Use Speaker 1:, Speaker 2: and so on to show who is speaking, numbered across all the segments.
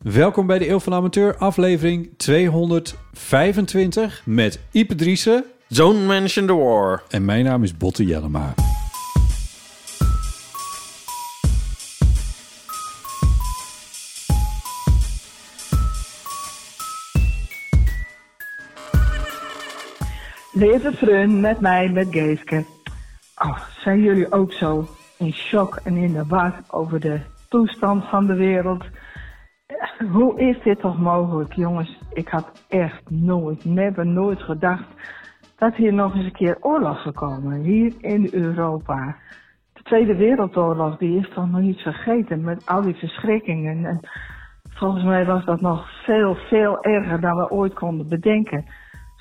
Speaker 1: Welkom bij de Eeuw van de Amateur, aflevering 225 met Ipe Driessen.
Speaker 2: Don't mention the war.
Speaker 1: En mijn naam is Botte Jellema.
Speaker 3: Deze Frun met mij, met Geeske. Oh, zijn jullie ook zo in shock en in de war over de toestand van de wereld? Eh, Hoe is dit toch mogelijk, jongens? Ik had echt nooit, never, nooit gedacht dat hier nog eens een keer oorlog zou komen. Hier in Europa. De Tweede Wereldoorlog, die is toch nog niet vergeten met al die verschrikkingen. En volgens mij was dat nog veel, veel erger dan we ooit konden bedenken.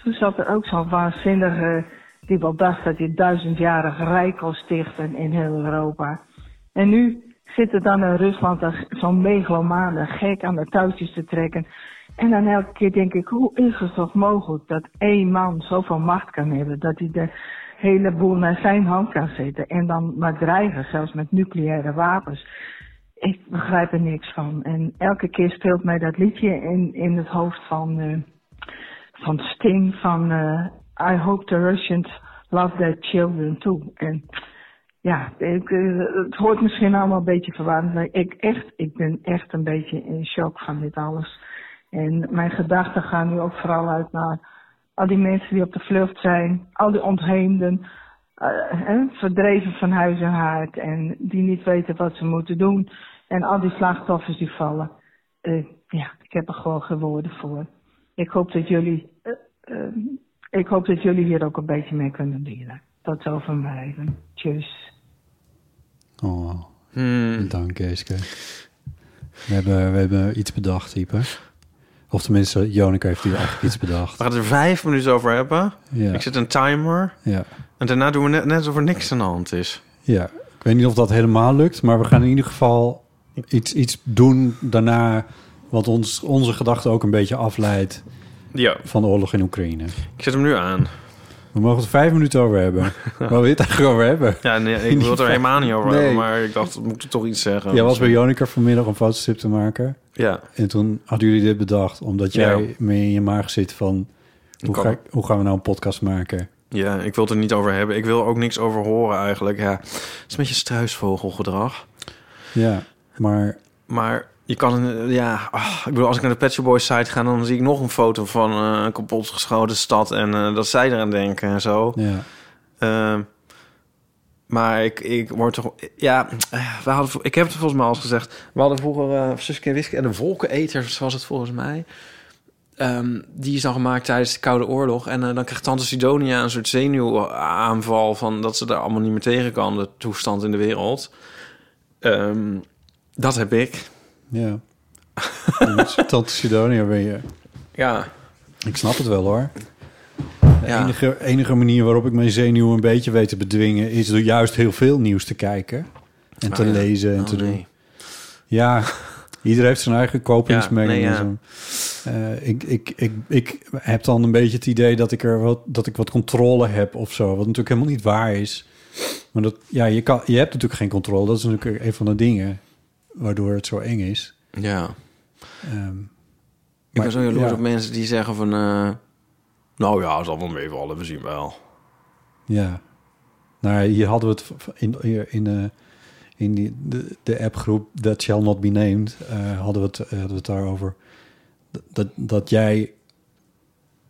Speaker 3: Toen zat er ook zo'n waanzinnige die wel dacht dat hij duizendjarig rijk kon stichten in heel Europa. En nu zit er dan in Rusland een- zo'n megalomane gek aan de touwtjes te trekken. En dan elke keer denk ik, hoe is het toch mogelijk dat één man zoveel macht kan hebben, dat hij de hele boel naar zijn hand kan zetten en dan maar dreigen, zelfs met nucleaire wapens. Ik begrijp er niks van. En elke keer speelt mij dat liedje in, in het hoofd van, eh, van Sting van eh, I hope the Russians love their children too. En ja, ik, eh, het hoort misschien allemaal een beetje verwarrend. Maar ik, echt, ik ben echt een beetje in shock van dit alles. En mijn gedachten gaan nu ook vooral uit naar al die mensen die op de vlucht zijn, al die ontheemden, eh, hè, verdreven van huis en haard en die niet weten wat ze moeten doen. En al die slachtoffers die vallen. Eh, ja, ik heb er gewoon geen woorden voor. Ik hoop dat jullie, eh, eh, ik hoop dat jullie hier ook een beetje mee kunnen dienen. Dat zal van mij. even. Tjus.
Speaker 1: Oh, dank Geeske. We hebben, we hebben iets bedacht, Ipe. Of tenminste, Jonica heeft hier eigenlijk iets bedacht.
Speaker 2: We gaan het er vijf minuten over hebben.
Speaker 1: Ja.
Speaker 2: Ik zet een timer.
Speaker 1: Ja.
Speaker 2: En daarna doen we net, net alsof er niks aan de hand is.
Speaker 1: ja, ik weet niet of dat helemaal lukt, maar we gaan in ieder geval iets, iets doen daarna... wat ons, onze gedachten ook een beetje afleidt
Speaker 2: Ja.
Speaker 1: van de oorlog in Oekraïne.
Speaker 2: Ik zet hem nu aan.
Speaker 1: We mogen het vijf minuten over hebben. Waar wil je het eigenlijk over hebben?
Speaker 2: Ja, nee, ik wil het er helemaal niet over
Speaker 1: Nee.
Speaker 2: hebben, maar ik dacht, we moeten toch iets zeggen.
Speaker 1: Jij was bij Jonica vanmiddag om fotostip te maken.
Speaker 2: Ja.
Speaker 1: En toen hadden jullie dit bedacht, omdat jij
Speaker 2: Ja.
Speaker 1: mee in je maag zit van... Hoe,
Speaker 2: kan
Speaker 1: ga,
Speaker 2: het.
Speaker 1: hoe gaan we nou een podcast maken?
Speaker 2: ja, ik wil het er niet over hebben. Ik wil er ook niks over horen eigenlijk. Ja, het is een beetje struisvogelgedrag.
Speaker 1: Ja, maar
Speaker 2: Maar je kan, een- ja, ah, ik bedoel, als ik naar de Pet Shop Boys site ga, dan zie ik nog een foto van eh, een kapotgeschoten stad en eh, dat zij eraan denken en zo.
Speaker 1: ja,
Speaker 2: Ehm, maar ik, ik word toch... Ja, eh, we hadden, vro- ik heb het volgens mij al eens gezegd. We hadden vroeger eh Suske en Wiske en de Wolkeneters, was het volgens mij. Ehm, die is dan gemaakt tijdens de Koude Oorlog. En eh, dan kreeg Tante Sidonia een soort zenuwaanval... van dat ze daar allemaal niet meer tegen kan, de toestand in de wereld. Ehm, dat heb ik.
Speaker 1: ja. En met Tante Sidonia ben je...
Speaker 2: Ja,
Speaker 1: Ik snap het wel hoor. De
Speaker 2: Ja.
Speaker 1: enige, enige manier waarop ik mijn zenuwen een beetje weet te bedwingen... is door juist heel veel nieuws te kijken. En te
Speaker 2: Ah, ja.
Speaker 1: lezen en
Speaker 2: Oh,
Speaker 1: te
Speaker 2: nee.
Speaker 1: doen. Ja, ieder heeft zijn eigen kopingsmechanisme.
Speaker 2: Ja, nee,
Speaker 1: Eh, ik, ik, ik, ik heb dan een beetje het idee dat ik er wat, dat ik wat controle heb of zo. Wat natuurlijk helemaal niet waar is. Maar dat, ja, je, kan, je hebt natuurlijk geen controle. Dat is natuurlijk een van de dingen waardoor het zo eng is.
Speaker 2: ja.
Speaker 1: Ehm,
Speaker 2: Ik
Speaker 1: Maar-
Speaker 2: ben zo jaloers
Speaker 1: ja.
Speaker 2: op mensen die zeggen van... eh, nou ja, het zal wel meevallen, we zien wel.
Speaker 1: ja. Nou, hier hadden we het v- in, hier in, eh, in eh, die, de, de appgroep That Shall Not Be Named... eh, hadden, we het, hadden we het daarover. dat, dat jij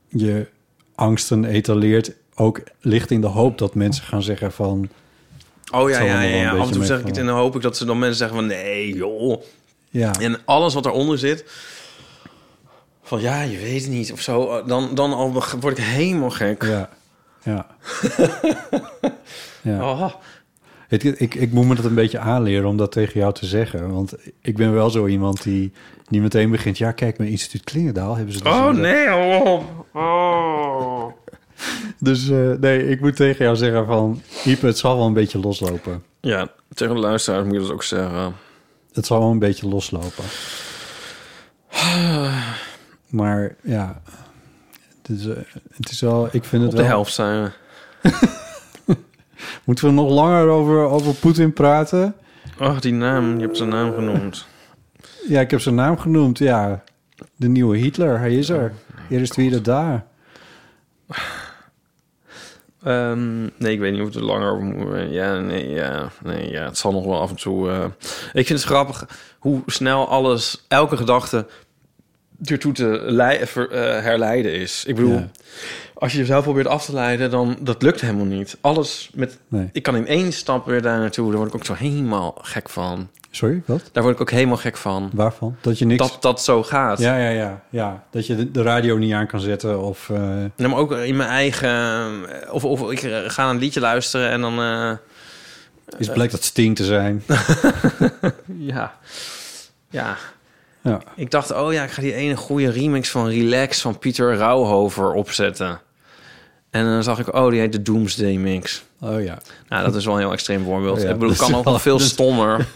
Speaker 1: je angsten etaleert, ook ligt in de hoop dat mensen gaan zeggen van...
Speaker 2: Oh ja,
Speaker 1: zal
Speaker 2: ja,
Speaker 1: allemaal
Speaker 2: ja.
Speaker 1: wel een
Speaker 2: ja. Af en toe
Speaker 1: beetje
Speaker 2: zeg ik iets en dan hoop ik dat ze dan mensen zeggen van... Nee, joh.
Speaker 1: Ja,
Speaker 2: En alles wat eronder zit... Van ja, je weet het niet of zo. Eh, Dan, dan al word ik helemaal gek.
Speaker 1: ja, ja. ja.
Speaker 2: Oh,
Speaker 1: Het- ik, ik moet me dat een beetje aanleren om dat tegen jou te zeggen. Want ik ben wel zo iemand die, die meteen begint... Ja, kijk, mijn instituut Klingendaal hebben ze... dus
Speaker 2: oh
Speaker 1: inderdaad-
Speaker 2: nee, hou op. Oh.
Speaker 1: Dus eh, nee, ik moet tegen jou zeggen van... Iep, het zal wel een beetje loslopen.
Speaker 2: Ja, tegen de luisteraars moet je dat ook zeggen.
Speaker 1: Het zal wel een beetje loslopen. Maar ja... Het is, eh, het is wel... Ik vind het
Speaker 2: Op de
Speaker 1: wel...
Speaker 2: helft zijn we.
Speaker 1: Moeten we nog langer over, over Poetin praten?
Speaker 2: Ach, die naam. Je hebt zijn naam genoemd.
Speaker 1: Ja, ik heb zijn naam genoemd. Ja, de nieuwe Hitler. Hij is er. Hier is wie daar.
Speaker 2: Ehm, nee, ik weet niet of we het er langer over moeten. Ja, nee, ja, nee, ja. Het zal nog wel af en toe. eh. Ik vind het grappig hoe snel alles, elke gedachte ertoe te lei- ver- eh, herleiden is. Ik bedoel,
Speaker 1: Ja.
Speaker 2: als je jezelf probeert af te leiden, dan dat lukt helemaal niet. Alles met.
Speaker 1: Nee.
Speaker 2: Ik kan in één stap weer daar naartoe. Daar word ik ook zo helemaal gek van.
Speaker 1: Sorry, wat?
Speaker 2: Daar word ik ook helemaal gek van.
Speaker 1: Waarvan? Dat je niks...
Speaker 2: Dat dat zo gaat.
Speaker 1: Ja, ja, ja, ja. Dat je de- de radio niet aan kan zetten of... eh,
Speaker 2: Nou, maar ook in mijn eigen. eh, Of, of ik eh, ga een liedje luisteren en dan. eh,
Speaker 1: is blijkt dat sting te zijn.
Speaker 2: ja. Ja.
Speaker 1: Ja.
Speaker 2: Ik dacht, oh ja, ik ga die ene goede remix van Relax van Pieter Rauwhover opzetten. En dan zag ik, oh, die heet de Doomsday Mix.
Speaker 1: Oh ja.
Speaker 2: Nou, dat is wel een heel extreem voorbeeld.
Speaker 1: Ja,
Speaker 2: ik bedoel, het
Speaker 1: dat
Speaker 2: kan
Speaker 1: is
Speaker 2: ook wel
Speaker 1: wel- dus-
Speaker 2: veel
Speaker 1: dat is-
Speaker 2: stommer.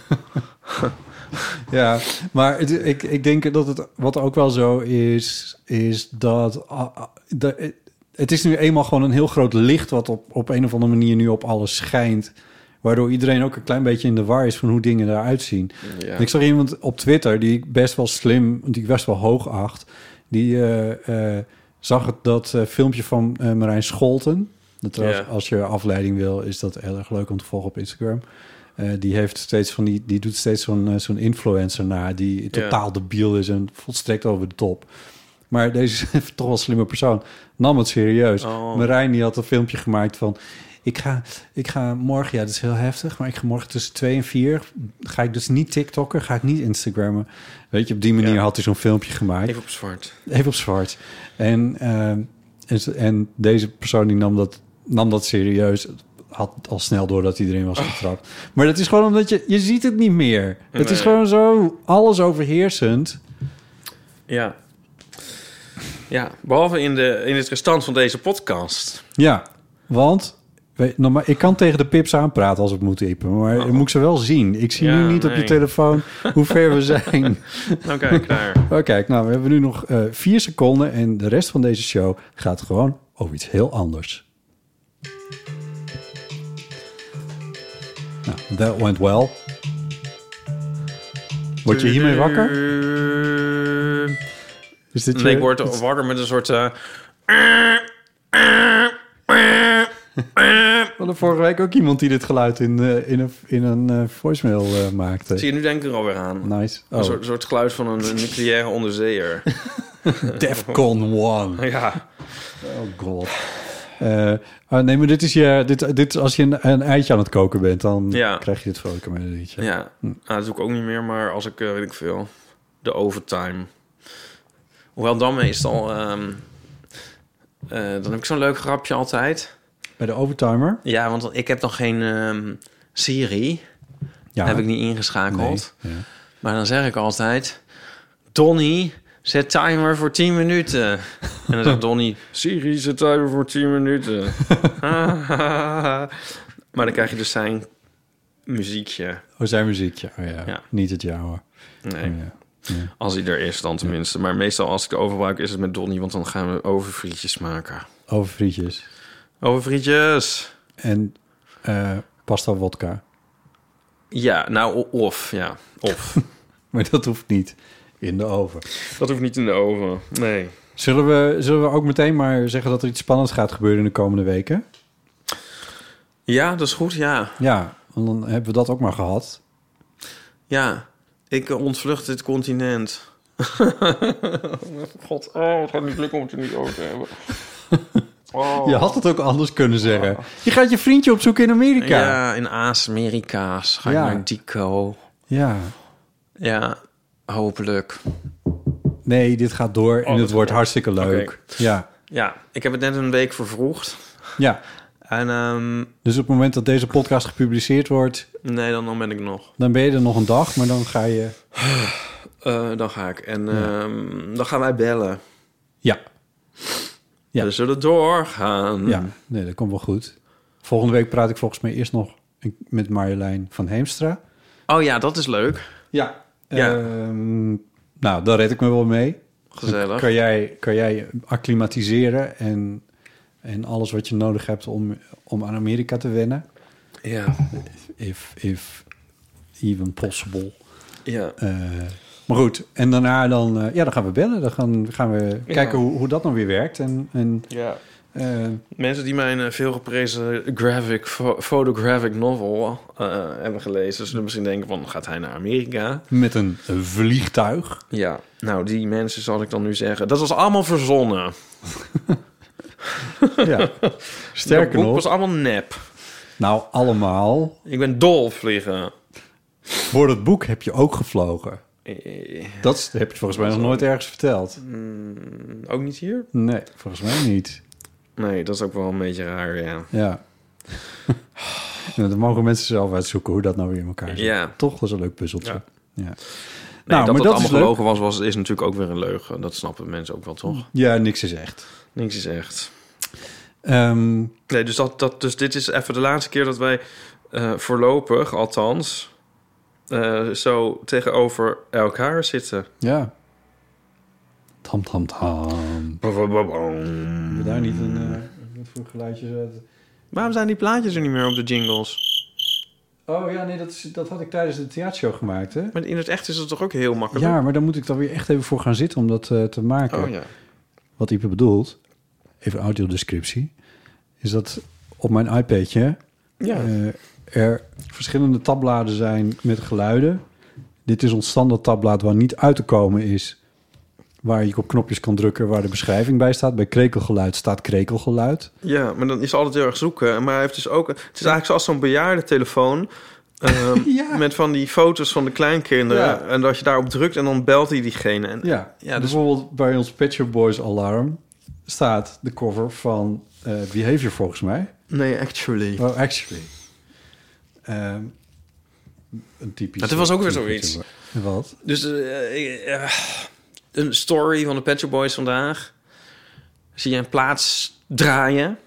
Speaker 1: Ja, maar het- ik, ik denk dat het wat ook wel zo is, is dat ah, ah, de- het is nu eenmaal gewoon een heel groot licht wat op, op een of andere manier nu op alles schijnt. Waardoor iedereen ook een klein beetje in de war is van hoe dingen eruit zien.
Speaker 2: Ja.
Speaker 1: En Ik zag iemand op Twitter die ik best wel slim, die ik best wel hoog acht. Die eh, eh, zag het, dat eh, filmpje van eh, Marijn Scholten. Dat trouwens,
Speaker 2: Ja.
Speaker 1: als je afleiding wil, is dat heel erg leuk om te volgen op Instagram. Eh, die, heeft steeds van die, die doet steeds zo'n eh, zo'n influencer na... die totaal debiel is en volstrekt over de top. Maar deze toch wel een slimme persoon nam het serieus.
Speaker 2: Oh.
Speaker 1: Marijn die had een filmpje gemaakt van... Ik ga, ik ga morgen, ja, dat is heel heftig... maar ik ga morgen tussen twee en vier... ga ik dus niet TikTokken, ga ik niet Instagrammen. Weet je, op die manier
Speaker 2: Ja.
Speaker 1: had hij zo'n filmpje gemaakt.
Speaker 2: Even op zwart.
Speaker 1: Even op zwart. En, ehm, en, ze- en deze persoon die nam dat, nam dat serieus. Had al snel door dat iedereen was getrapt. Maar dat is gewoon omdat je... Je ziet het niet meer. Het is
Speaker 2: Nee.
Speaker 1: gewoon zo alles overheersend.
Speaker 2: Ja. Ja, behalve in, de, in het restant van deze podcast.
Speaker 1: Ja, want... weet- nou, maar Ik kan tegen de pips aanpraten als het moet, Ipe. Maar moet ik ze wel zien. Ik zie
Speaker 2: Oh. Ja,
Speaker 1: nu niet op je
Speaker 2: nee.
Speaker 1: telefoon hoe ver we zijn.
Speaker 2: Nou, kijk daar.
Speaker 1: Oh, kijk, nou, we hebben nu nog eh, vier seconden... en de rest van deze show gaat gewoon over iets heel anders. Nou, that went well. Word je hiermee wakker? Is dit je-
Speaker 2: Nee, ik word wakker met een soort... eh,
Speaker 1: We hadden vorige week ook iemand die dit geluid in, eh, in een, in een eh, voicemail eh, maakte.
Speaker 2: zie je, nu denk ik er alweer aan.
Speaker 1: Nice.
Speaker 2: Een
Speaker 1: Oh,
Speaker 2: soort, soort geluid van een, een nucleaire onderzeeër.
Speaker 1: Defcon 1.
Speaker 2: ja.
Speaker 1: Oh god. Eh, ah, nee, maar dit is je... Dit, dit, is als je een, een eitje aan het koken bent, dan
Speaker 2: Ja.
Speaker 1: krijg je dit vrolijke melodietje.
Speaker 2: Ja, nou, dat doe ik ook niet meer, maar als ik, eh, weet ik veel, de overtime. Hoewel dan meestal, ehm, eh, dan heb ik zo'n leuk grapje altijd.
Speaker 1: Bij de overtimer.
Speaker 2: Ja, want ik heb nog geen ehm Siri,
Speaker 1: Ja.
Speaker 2: heb ik niet ingeschakeld.
Speaker 1: Nee, ja.
Speaker 2: Maar dan zeg ik altijd, Donnie, zet timer voor 10 minuten. En dan zegt Donnie, Siri, zet timer voor 10 minuten. maar dan krijg je dus zijn muziekje.
Speaker 1: Oh, zijn muziekje. Oh, ja.
Speaker 2: Ja.
Speaker 1: Niet het jouwe.
Speaker 2: Nee.
Speaker 1: Oh, ja.
Speaker 2: Als hij er is dan tenminste. Maar meestal als ik de overbruik is het met Donnie, want dan gaan we overfrietjes maken.
Speaker 1: Over frietjes.
Speaker 2: Overfrietjes!
Speaker 1: En eh, pasta wodka.
Speaker 2: Ja, nou o- of, ja, of.
Speaker 1: Maar dat hoeft niet in de oven.
Speaker 2: Dat hoeft niet in de oven, nee.
Speaker 1: Zullen we, zullen we ook meteen maar zeggen dat er iets spannends gaat gebeuren in de komende weken?
Speaker 2: Ja, dat is goed, ja.
Speaker 1: Ja, want dan hebben we dat ook maar gehad.
Speaker 2: Ja, ik eh, ontvlucht dit continent. God, oh, het gaat niet lukken om het er niet over te hebben.
Speaker 1: Je had het ook anders kunnen zeggen. Je gaat je vriendje opzoeken in Amerika.
Speaker 2: Ja, in Aas-Amerika. Ga je
Speaker 1: Ja.
Speaker 2: naar Dico.
Speaker 1: Ja.
Speaker 2: Ja, hopelijk.
Speaker 1: Nee, dit gaat door en
Speaker 2: Oh, dat
Speaker 1: het wordt
Speaker 2: gaat-
Speaker 1: hartstikke leuk. Ja.
Speaker 2: Ja, ik heb het net een week vervroegd.
Speaker 1: ja.
Speaker 2: En ehm,
Speaker 1: Dus op het moment dat deze podcast gepubliceerd wordt,
Speaker 2: nee, dan, dan ben ik nog.
Speaker 1: dan ben je er nog een dag, maar dan ga je...
Speaker 2: Eh, dan ga ik. En ehm, dan gaan wij bellen.
Speaker 1: Ja, Ja.
Speaker 2: We zullen doorgaan.
Speaker 1: ja. Nee, dat komt wel goed. Volgende week praat ik volgens mij eerst nog een- met Marjolein van Heemstra.
Speaker 2: Oh ja, dat is leuk.
Speaker 1: Ja.
Speaker 2: Ja.
Speaker 1: nou, daar red ik me wel mee.
Speaker 2: Gezellig.
Speaker 1: Kan jij, kan jij je acclimatiseren en, en alles wat je nodig hebt om, om aan Amerika te wennen?
Speaker 2: Ja.
Speaker 1: If, if even possible.
Speaker 2: ja.
Speaker 1: Eh, maar goed, en daarna dan, eh, ja, dan gaan we bellen. Dan gaan, gaan we kijken hoe, hoe dat nou weer werkt. En, en
Speaker 2: ja.
Speaker 1: eh,
Speaker 2: Mensen die mijn eh, veelgeprezen graphic, fo- photographic novel eh, hebben gelezen... zullen misschien denken van, gaat hij naar Amerika?
Speaker 1: met een vliegtuig.
Speaker 2: Ja. Nou, die mensen zal ik dan nu zeggen. Dat was allemaal verzonnen.
Speaker 1: Ja.
Speaker 2: Dat
Speaker 1: Sterker
Speaker 2: boek was
Speaker 1: nog,
Speaker 2: allemaal nep.
Speaker 1: nou allemaal.
Speaker 2: Ik ben dol op vliegen.
Speaker 1: Voor dat boek heb je ook gevlogen.
Speaker 2: Eh,
Speaker 1: Dat is- heb je volgens mij nog nooit ergens verteld.
Speaker 2: Ook niet hier?
Speaker 1: Nee, volgens mij niet.
Speaker 2: Nee, dat is ook wel een beetje raar, ja.
Speaker 1: Ja. Nou, dan mogen mensen zelf uitzoeken hoe dat nou weer in elkaar zit.
Speaker 2: Ja.
Speaker 1: Toch was een leuk puzzeltje. Ja.
Speaker 2: Ja. Nee,
Speaker 1: Nou,
Speaker 2: dat
Speaker 1: maar
Speaker 2: het
Speaker 1: dat
Speaker 2: allemaal
Speaker 1: is leuk.
Speaker 2: gelogen was, was, is natuurlijk ook weer een leugen. Dat snappen mensen ook wel, toch?
Speaker 1: Ja, niks is echt.
Speaker 2: Niks is echt.
Speaker 1: Ehm,
Speaker 2: Nee, dus, dat, dat, dus dit is even de laatste keer dat wij eh, voorlopig, althans, eh, zo tegenover elkaar zitten.
Speaker 1: ja. Tam, tam, tam.
Speaker 2: Babababam.
Speaker 1: Hebben we daar niet een eh, wat voor geluidjes uit?
Speaker 2: Waarom zijn die plaatjes er niet meer op de jingles?
Speaker 1: Oh ja, nee, dat, is, dat had ik tijdens de theatershow gemaakt, hè?
Speaker 2: Maar in het echt is het toch ook heel makkelijk?
Speaker 1: Ja, maar daar moet ik dan weer echt even voor gaan zitten om dat eh, te maken.
Speaker 2: Oh ja.
Speaker 1: Wat Ipe bedoelt, even audiodescriptie, is dat op mijn iPadje
Speaker 2: Ja.
Speaker 1: eh, er verschillende tabbladen zijn met geluiden. Dit is ons standaard tabblad waar niet uit te komen is. Waar je op knopjes kan drukken waar de beschrijving bij staat. Bij krekelgeluid staat krekelgeluid.
Speaker 2: Ja, maar dan is het altijd heel erg zoeken. Maar hij heeft dus ook... Het is eigenlijk zoals zo'n bejaardentelefoon... telefoon
Speaker 1: Ja.
Speaker 2: Met van die foto's van de kleinkinderen.
Speaker 1: Ja.
Speaker 2: En dat je daarop drukt en dan belt hij diegene. En,
Speaker 1: Ja,
Speaker 2: ja, dus,
Speaker 1: bijvoorbeeld bij ons Pet Shop Boys Alarm staat de cover van eh Behavior volgens mij.
Speaker 2: nee, actually.
Speaker 1: Oh, actually. Ehm, een typisch... eh,
Speaker 2: Dat was ook weer
Speaker 1: typisch-
Speaker 2: zoiets.
Speaker 1: Wat?
Speaker 2: Dus eh, eh, eh, een story van de Pet Shop Boys vandaag. Zie je een plaats draaien.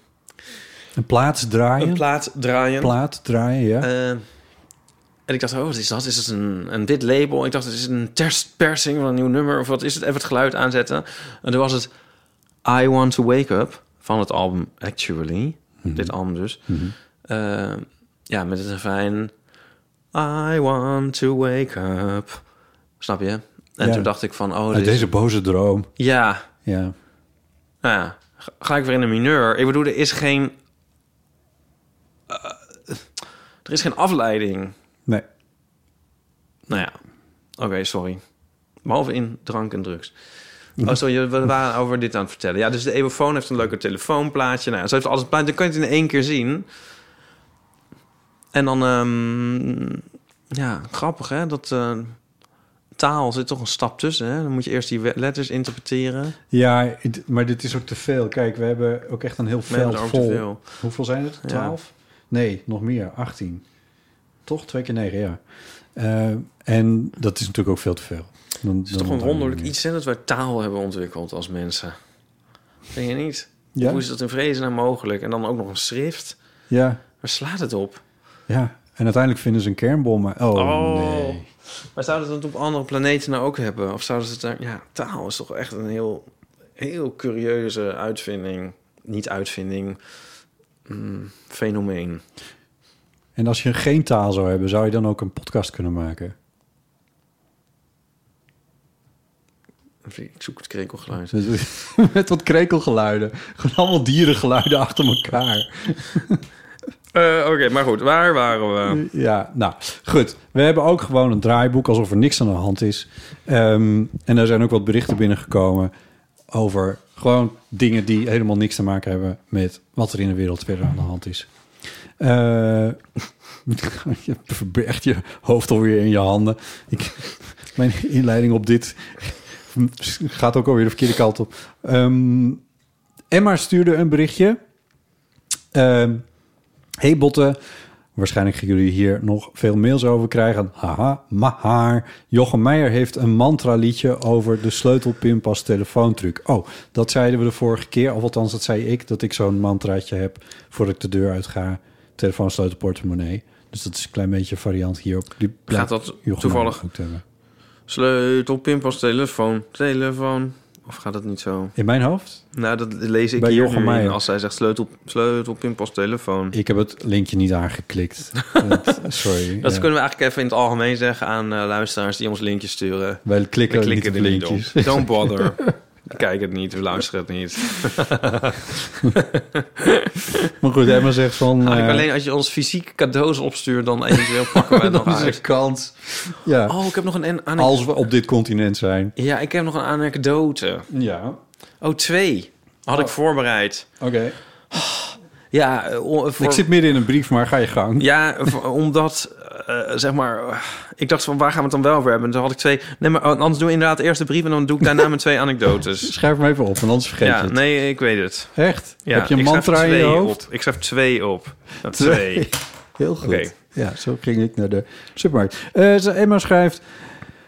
Speaker 1: Een plaats draaien?
Speaker 2: Een plaat draaien.
Speaker 1: plaat draaien, ja.
Speaker 2: Eh, en ik dacht, oh, wat is dat? Is het een, een wit label? Ik dacht, het is een ters- persing van een nieuw nummer. Of wat is het? Even het geluid aanzetten. En toen was het I Want To Wake Up van het album Actually. Dit album dus. Eh, ja, met het refrein I Want To Wake Up. Snap je? En
Speaker 1: Ja.
Speaker 2: toen dacht ik van, oh,
Speaker 1: Uit
Speaker 2: dit is-
Speaker 1: deze boze droom.
Speaker 2: Ja,
Speaker 1: Ja.
Speaker 2: nou ja, ga- ga ik weer in de mineur. Ik bedoel, er is geen... eh, er is geen afleiding.
Speaker 1: Nee.
Speaker 2: Nou ja, oké, sorry. Behalve in drank en drugs. Oh, sorry, we waren over dit aan het vertellen. Ja, dus de Evofoon heeft een leuke telefoonplaatje. Nou, ja, ze heeft alles een plaatje. Dan kan je het in één keer zien. En dan, ehm, ja, grappig hè, dat eh, taal zit toch een stap tussen. Hè? Dan moet je eerst die we- letters interpreteren.
Speaker 1: Ja, het- maar dit is ook te veel. Kijk, we hebben ook echt een heel
Speaker 2: We hebben
Speaker 1: veld
Speaker 2: er ook
Speaker 1: vol.
Speaker 2: te veel.
Speaker 1: Hoeveel zijn het? Twaalf? Nee, nog meer. 18. Toch? Twee keer negen, ja. Eh, en dat is natuurlijk ook veel te veel. Dan,
Speaker 2: Het is toch een wonderlijk iets hè, dat wij taal hebben ontwikkeld als mensen. Vind je niet?
Speaker 1: Ja?
Speaker 2: Hoe is dat in vredesnaam mogelijk? En dan ook nog een schrift.
Speaker 1: Ja,
Speaker 2: Waar slaat het op?
Speaker 1: ja. En uiteindelijk vinden ze een kernbom. maar- Oh,
Speaker 2: Oh.
Speaker 1: nee.
Speaker 2: Maar zouden ze het op andere planeten nou ook hebben? Of zouden ze het daar... Ja, taal is toch echt een heel, heel curieuze uitvinding. Niet uitvinding. mm, fenomeen.
Speaker 1: En als je geen taal zou hebben, zou je dan ook een podcast kunnen maken?
Speaker 2: Ik zoek het krekelgeluid.
Speaker 1: Met, met wat krekelgeluiden. Gewoon allemaal dierengeluiden achter elkaar.
Speaker 2: Eh, Oké, maar goed. Waar waren we?
Speaker 1: Ja, nou, goed. We hebben ook gewoon een draaiboek, alsof er niks aan de hand is. Ehm, en er zijn ook wat berichten binnengekomen. over gewoon dingen die helemaal niks te maken hebben met wat er in de wereld verder aan de hand is. Eh, je verbergt je hoofd alweer in je handen. Ik, mijn inleiding op dit gaat ook alweer de verkeerde kant op. Ehm, Emma stuurde een berichtje. Ehm, hey Botte, waarschijnlijk gaan jullie hier nog veel mails over krijgen. Haha, maar Jochem Meijer heeft een mantra-liedje over de sleutelpimp als telefoontruc. Oh, dat zeiden we de vorige keer, of althans dat zei ik, dat ik zo'n mantraatje heb voordat ik de deur uit ga. Telefoon, sleutel, portemonnee. Dus dat is een klein beetje een variant hierop. Die blijkt
Speaker 2: dat
Speaker 1: Jochem Meijer
Speaker 2: toevallig-
Speaker 1: goed te hebben.
Speaker 2: Sleutel, pinpas, telefoon, telefoon. Of gaat het niet zo?
Speaker 1: In mijn hoofd?
Speaker 2: Nou, dat lees ik
Speaker 1: Bij
Speaker 2: hier
Speaker 1: Jochem
Speaker 2: nu in
Speaker 1: Meijer.
Speaker 2: als zij zegt sleutel, sleutel, pinpas, telefoon.
Speaker 1: Ik heb het linkje niet aangeklikt. Dat- sorry.
Speaker 2: Dat
Speaker 1: ja.
Speaker 2: kunnen we eigenlijk even in het algemeen zeggen aan eh, luisteraars die ons linkjes sturen.
Speaker 1: Wij klikken,
Speaker 2: We klikken
Speaker 1: niet
Speaker 2: er
Speaker 1: op
Speaker 2: niet
Speaker 1: linkjes.
Speaker 2: op. Don't bother. Kijk het niet, we luisteren het niet.
Speaker 1: Maar goed, Emma zegt van... eh,
Speaker 2: Eigenlijk alleen als je ons fysiek cadeaus opstuurt, dan eventueel pakken we het nog
Speaker 1: dan is
Speaker 2: uit.
Speaker 1: er kans. Ja,
Speaker 2: Oh, ik heb nog een an- ane-
Speaker 1: als we op dit continent zijn.
Speaker 2: Ja, ik heb nog een anekdote.
Speaker 1: Ja,
Speaker 2: Oh, twee. Had
Speaker 1: Oh.
Speaker 2: ik voorbereid.
Speaker 1: oké.
Speaker 2: Ja, eh, o- voor...
Speaker 1: Ik zit midden in een brief, maar ga je gang.
Speaker 2: Ja, v- omdat, eh, zeg maar, eh, ik dacht van waar gaan we het dan wel over hebben? En toen had ik twee, nee, maar oh, anders doe inderdaad eerst de brief en dan doe ik daarna mijn twee anekdotes.
Speaker 1: Schrijf hem even op, want anders vergeet
Speaker 2: ja,
Speaker 1: je het.
Speaker 2: nee, ik weet het.
Speaker 1: Echt?
Speaker 2: Ja,
Speaker 1: Heb je een
Speaker 2: ik schrijf
Speaker 1: mantra in je
Speaker 2: twee
Speaker 1: hoofd?
Speaker 2: Op. Ik schrijf twee op. Ja, Twee.
Speaker 1: Heel goed.
Speaker 2: Oké.
Speaker 1: Ja, zo ging ik naar de supermarkt. Eh, ze- Emma schrijft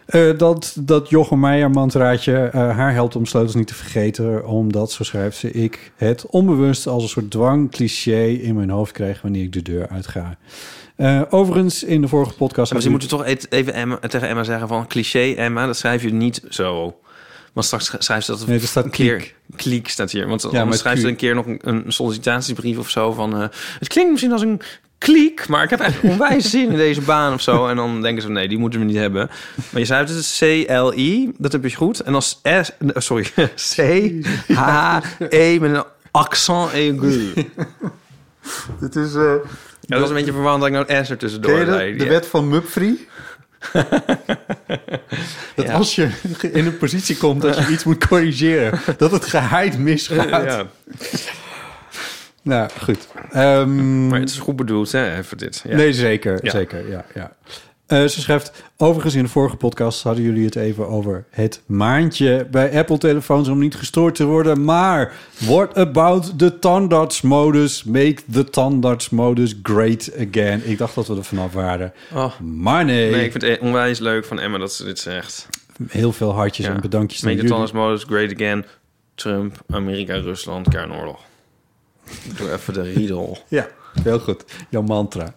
Speaker 1: eh, dat, dat Jochem Meijer mantraatje eh, haar helpt om sleutels niet te vergeten. Omdat, zo schrijft ze, ik het onbewust als een soort dwangcliché in mijn hoofd krijg wanneer ik de deur uitga. Eh, overigens, in de vorige podcast...
Speaker 2: Maar misschien moeten we toch et- even Emma, tegen Emma zeggen van cliché Emma, dat schrijf je niet zo. Want straks schrijft ze dat
Speaker 1: Nee, er staat
Speaker 2: een keer
Speaker 1: kliek.
Speaker 2: kliek staat hier. Want
Speaker 1: maar
Speaker 2: dan
Speaker 1: het
Speaker 2: schrijft ze
Speaker 1: kliek.
Speaker 2: een keer nog een, een sollicitatiebrief of zo van eh, het klinkt misschien als een kliek, maar ik heb eigenlijk onwijs zin in deze baan of zo. En dan denken ze nee, die moeten we niet hebben. Maar je schrijft het C L I, dat heb je goed. En dan S, eh, sorry C H E met een accent aigu.
Speaker 1: Dit is eh
Speaker 2: Ja, dat was een beetje verwarrend dat ik nou S er
Speaker 1: ken je
Speaker 2: tussendoor
Speaker 1: dat?
Speaker 2: leidde.
Speaker 1: de wet van Mupfree. dat
Speaker 2: Ja.
Speaker 1: als je in een positie komt dat je iets moet corrigeren, dat het geheid misgaat.
Speaker 2: Ja.
Speaker 1: Nou, goed. Ehm,
Speaker 2: Maar het is goed bedoeld, hè, even dit. Ja.
Speaker 1: Nee, zeker.
Speaker 2: Ja.
Speaker 1: Zeker, ja. ja. Eh, ze schrijft, overigens in de vorige podcast hadden jullie het even over het maandje bij Apple-telefoons om niet gestoord te worden. Maar what about the tandartsmodus? Make the tandartsmodus great again. Ik dacht dat we er vanaf waren.
Speaker 2: Oh.
Speaker 1: Maar nee,
Speaker 2: Nee, ik vind het onwijs leuk van Emma dat ze dit zegt.
Speaker 1: heel veel hartjes en bedankjes naar
Speaker 2: Make the
Speaker 1: jullie.
Speaker 2: Thomas modus great again. Trump, Amerika, Rusland, kernoorlog. Ik doe even de riedel.
Speaker 1: Ja, heel goed. Jouw mantra.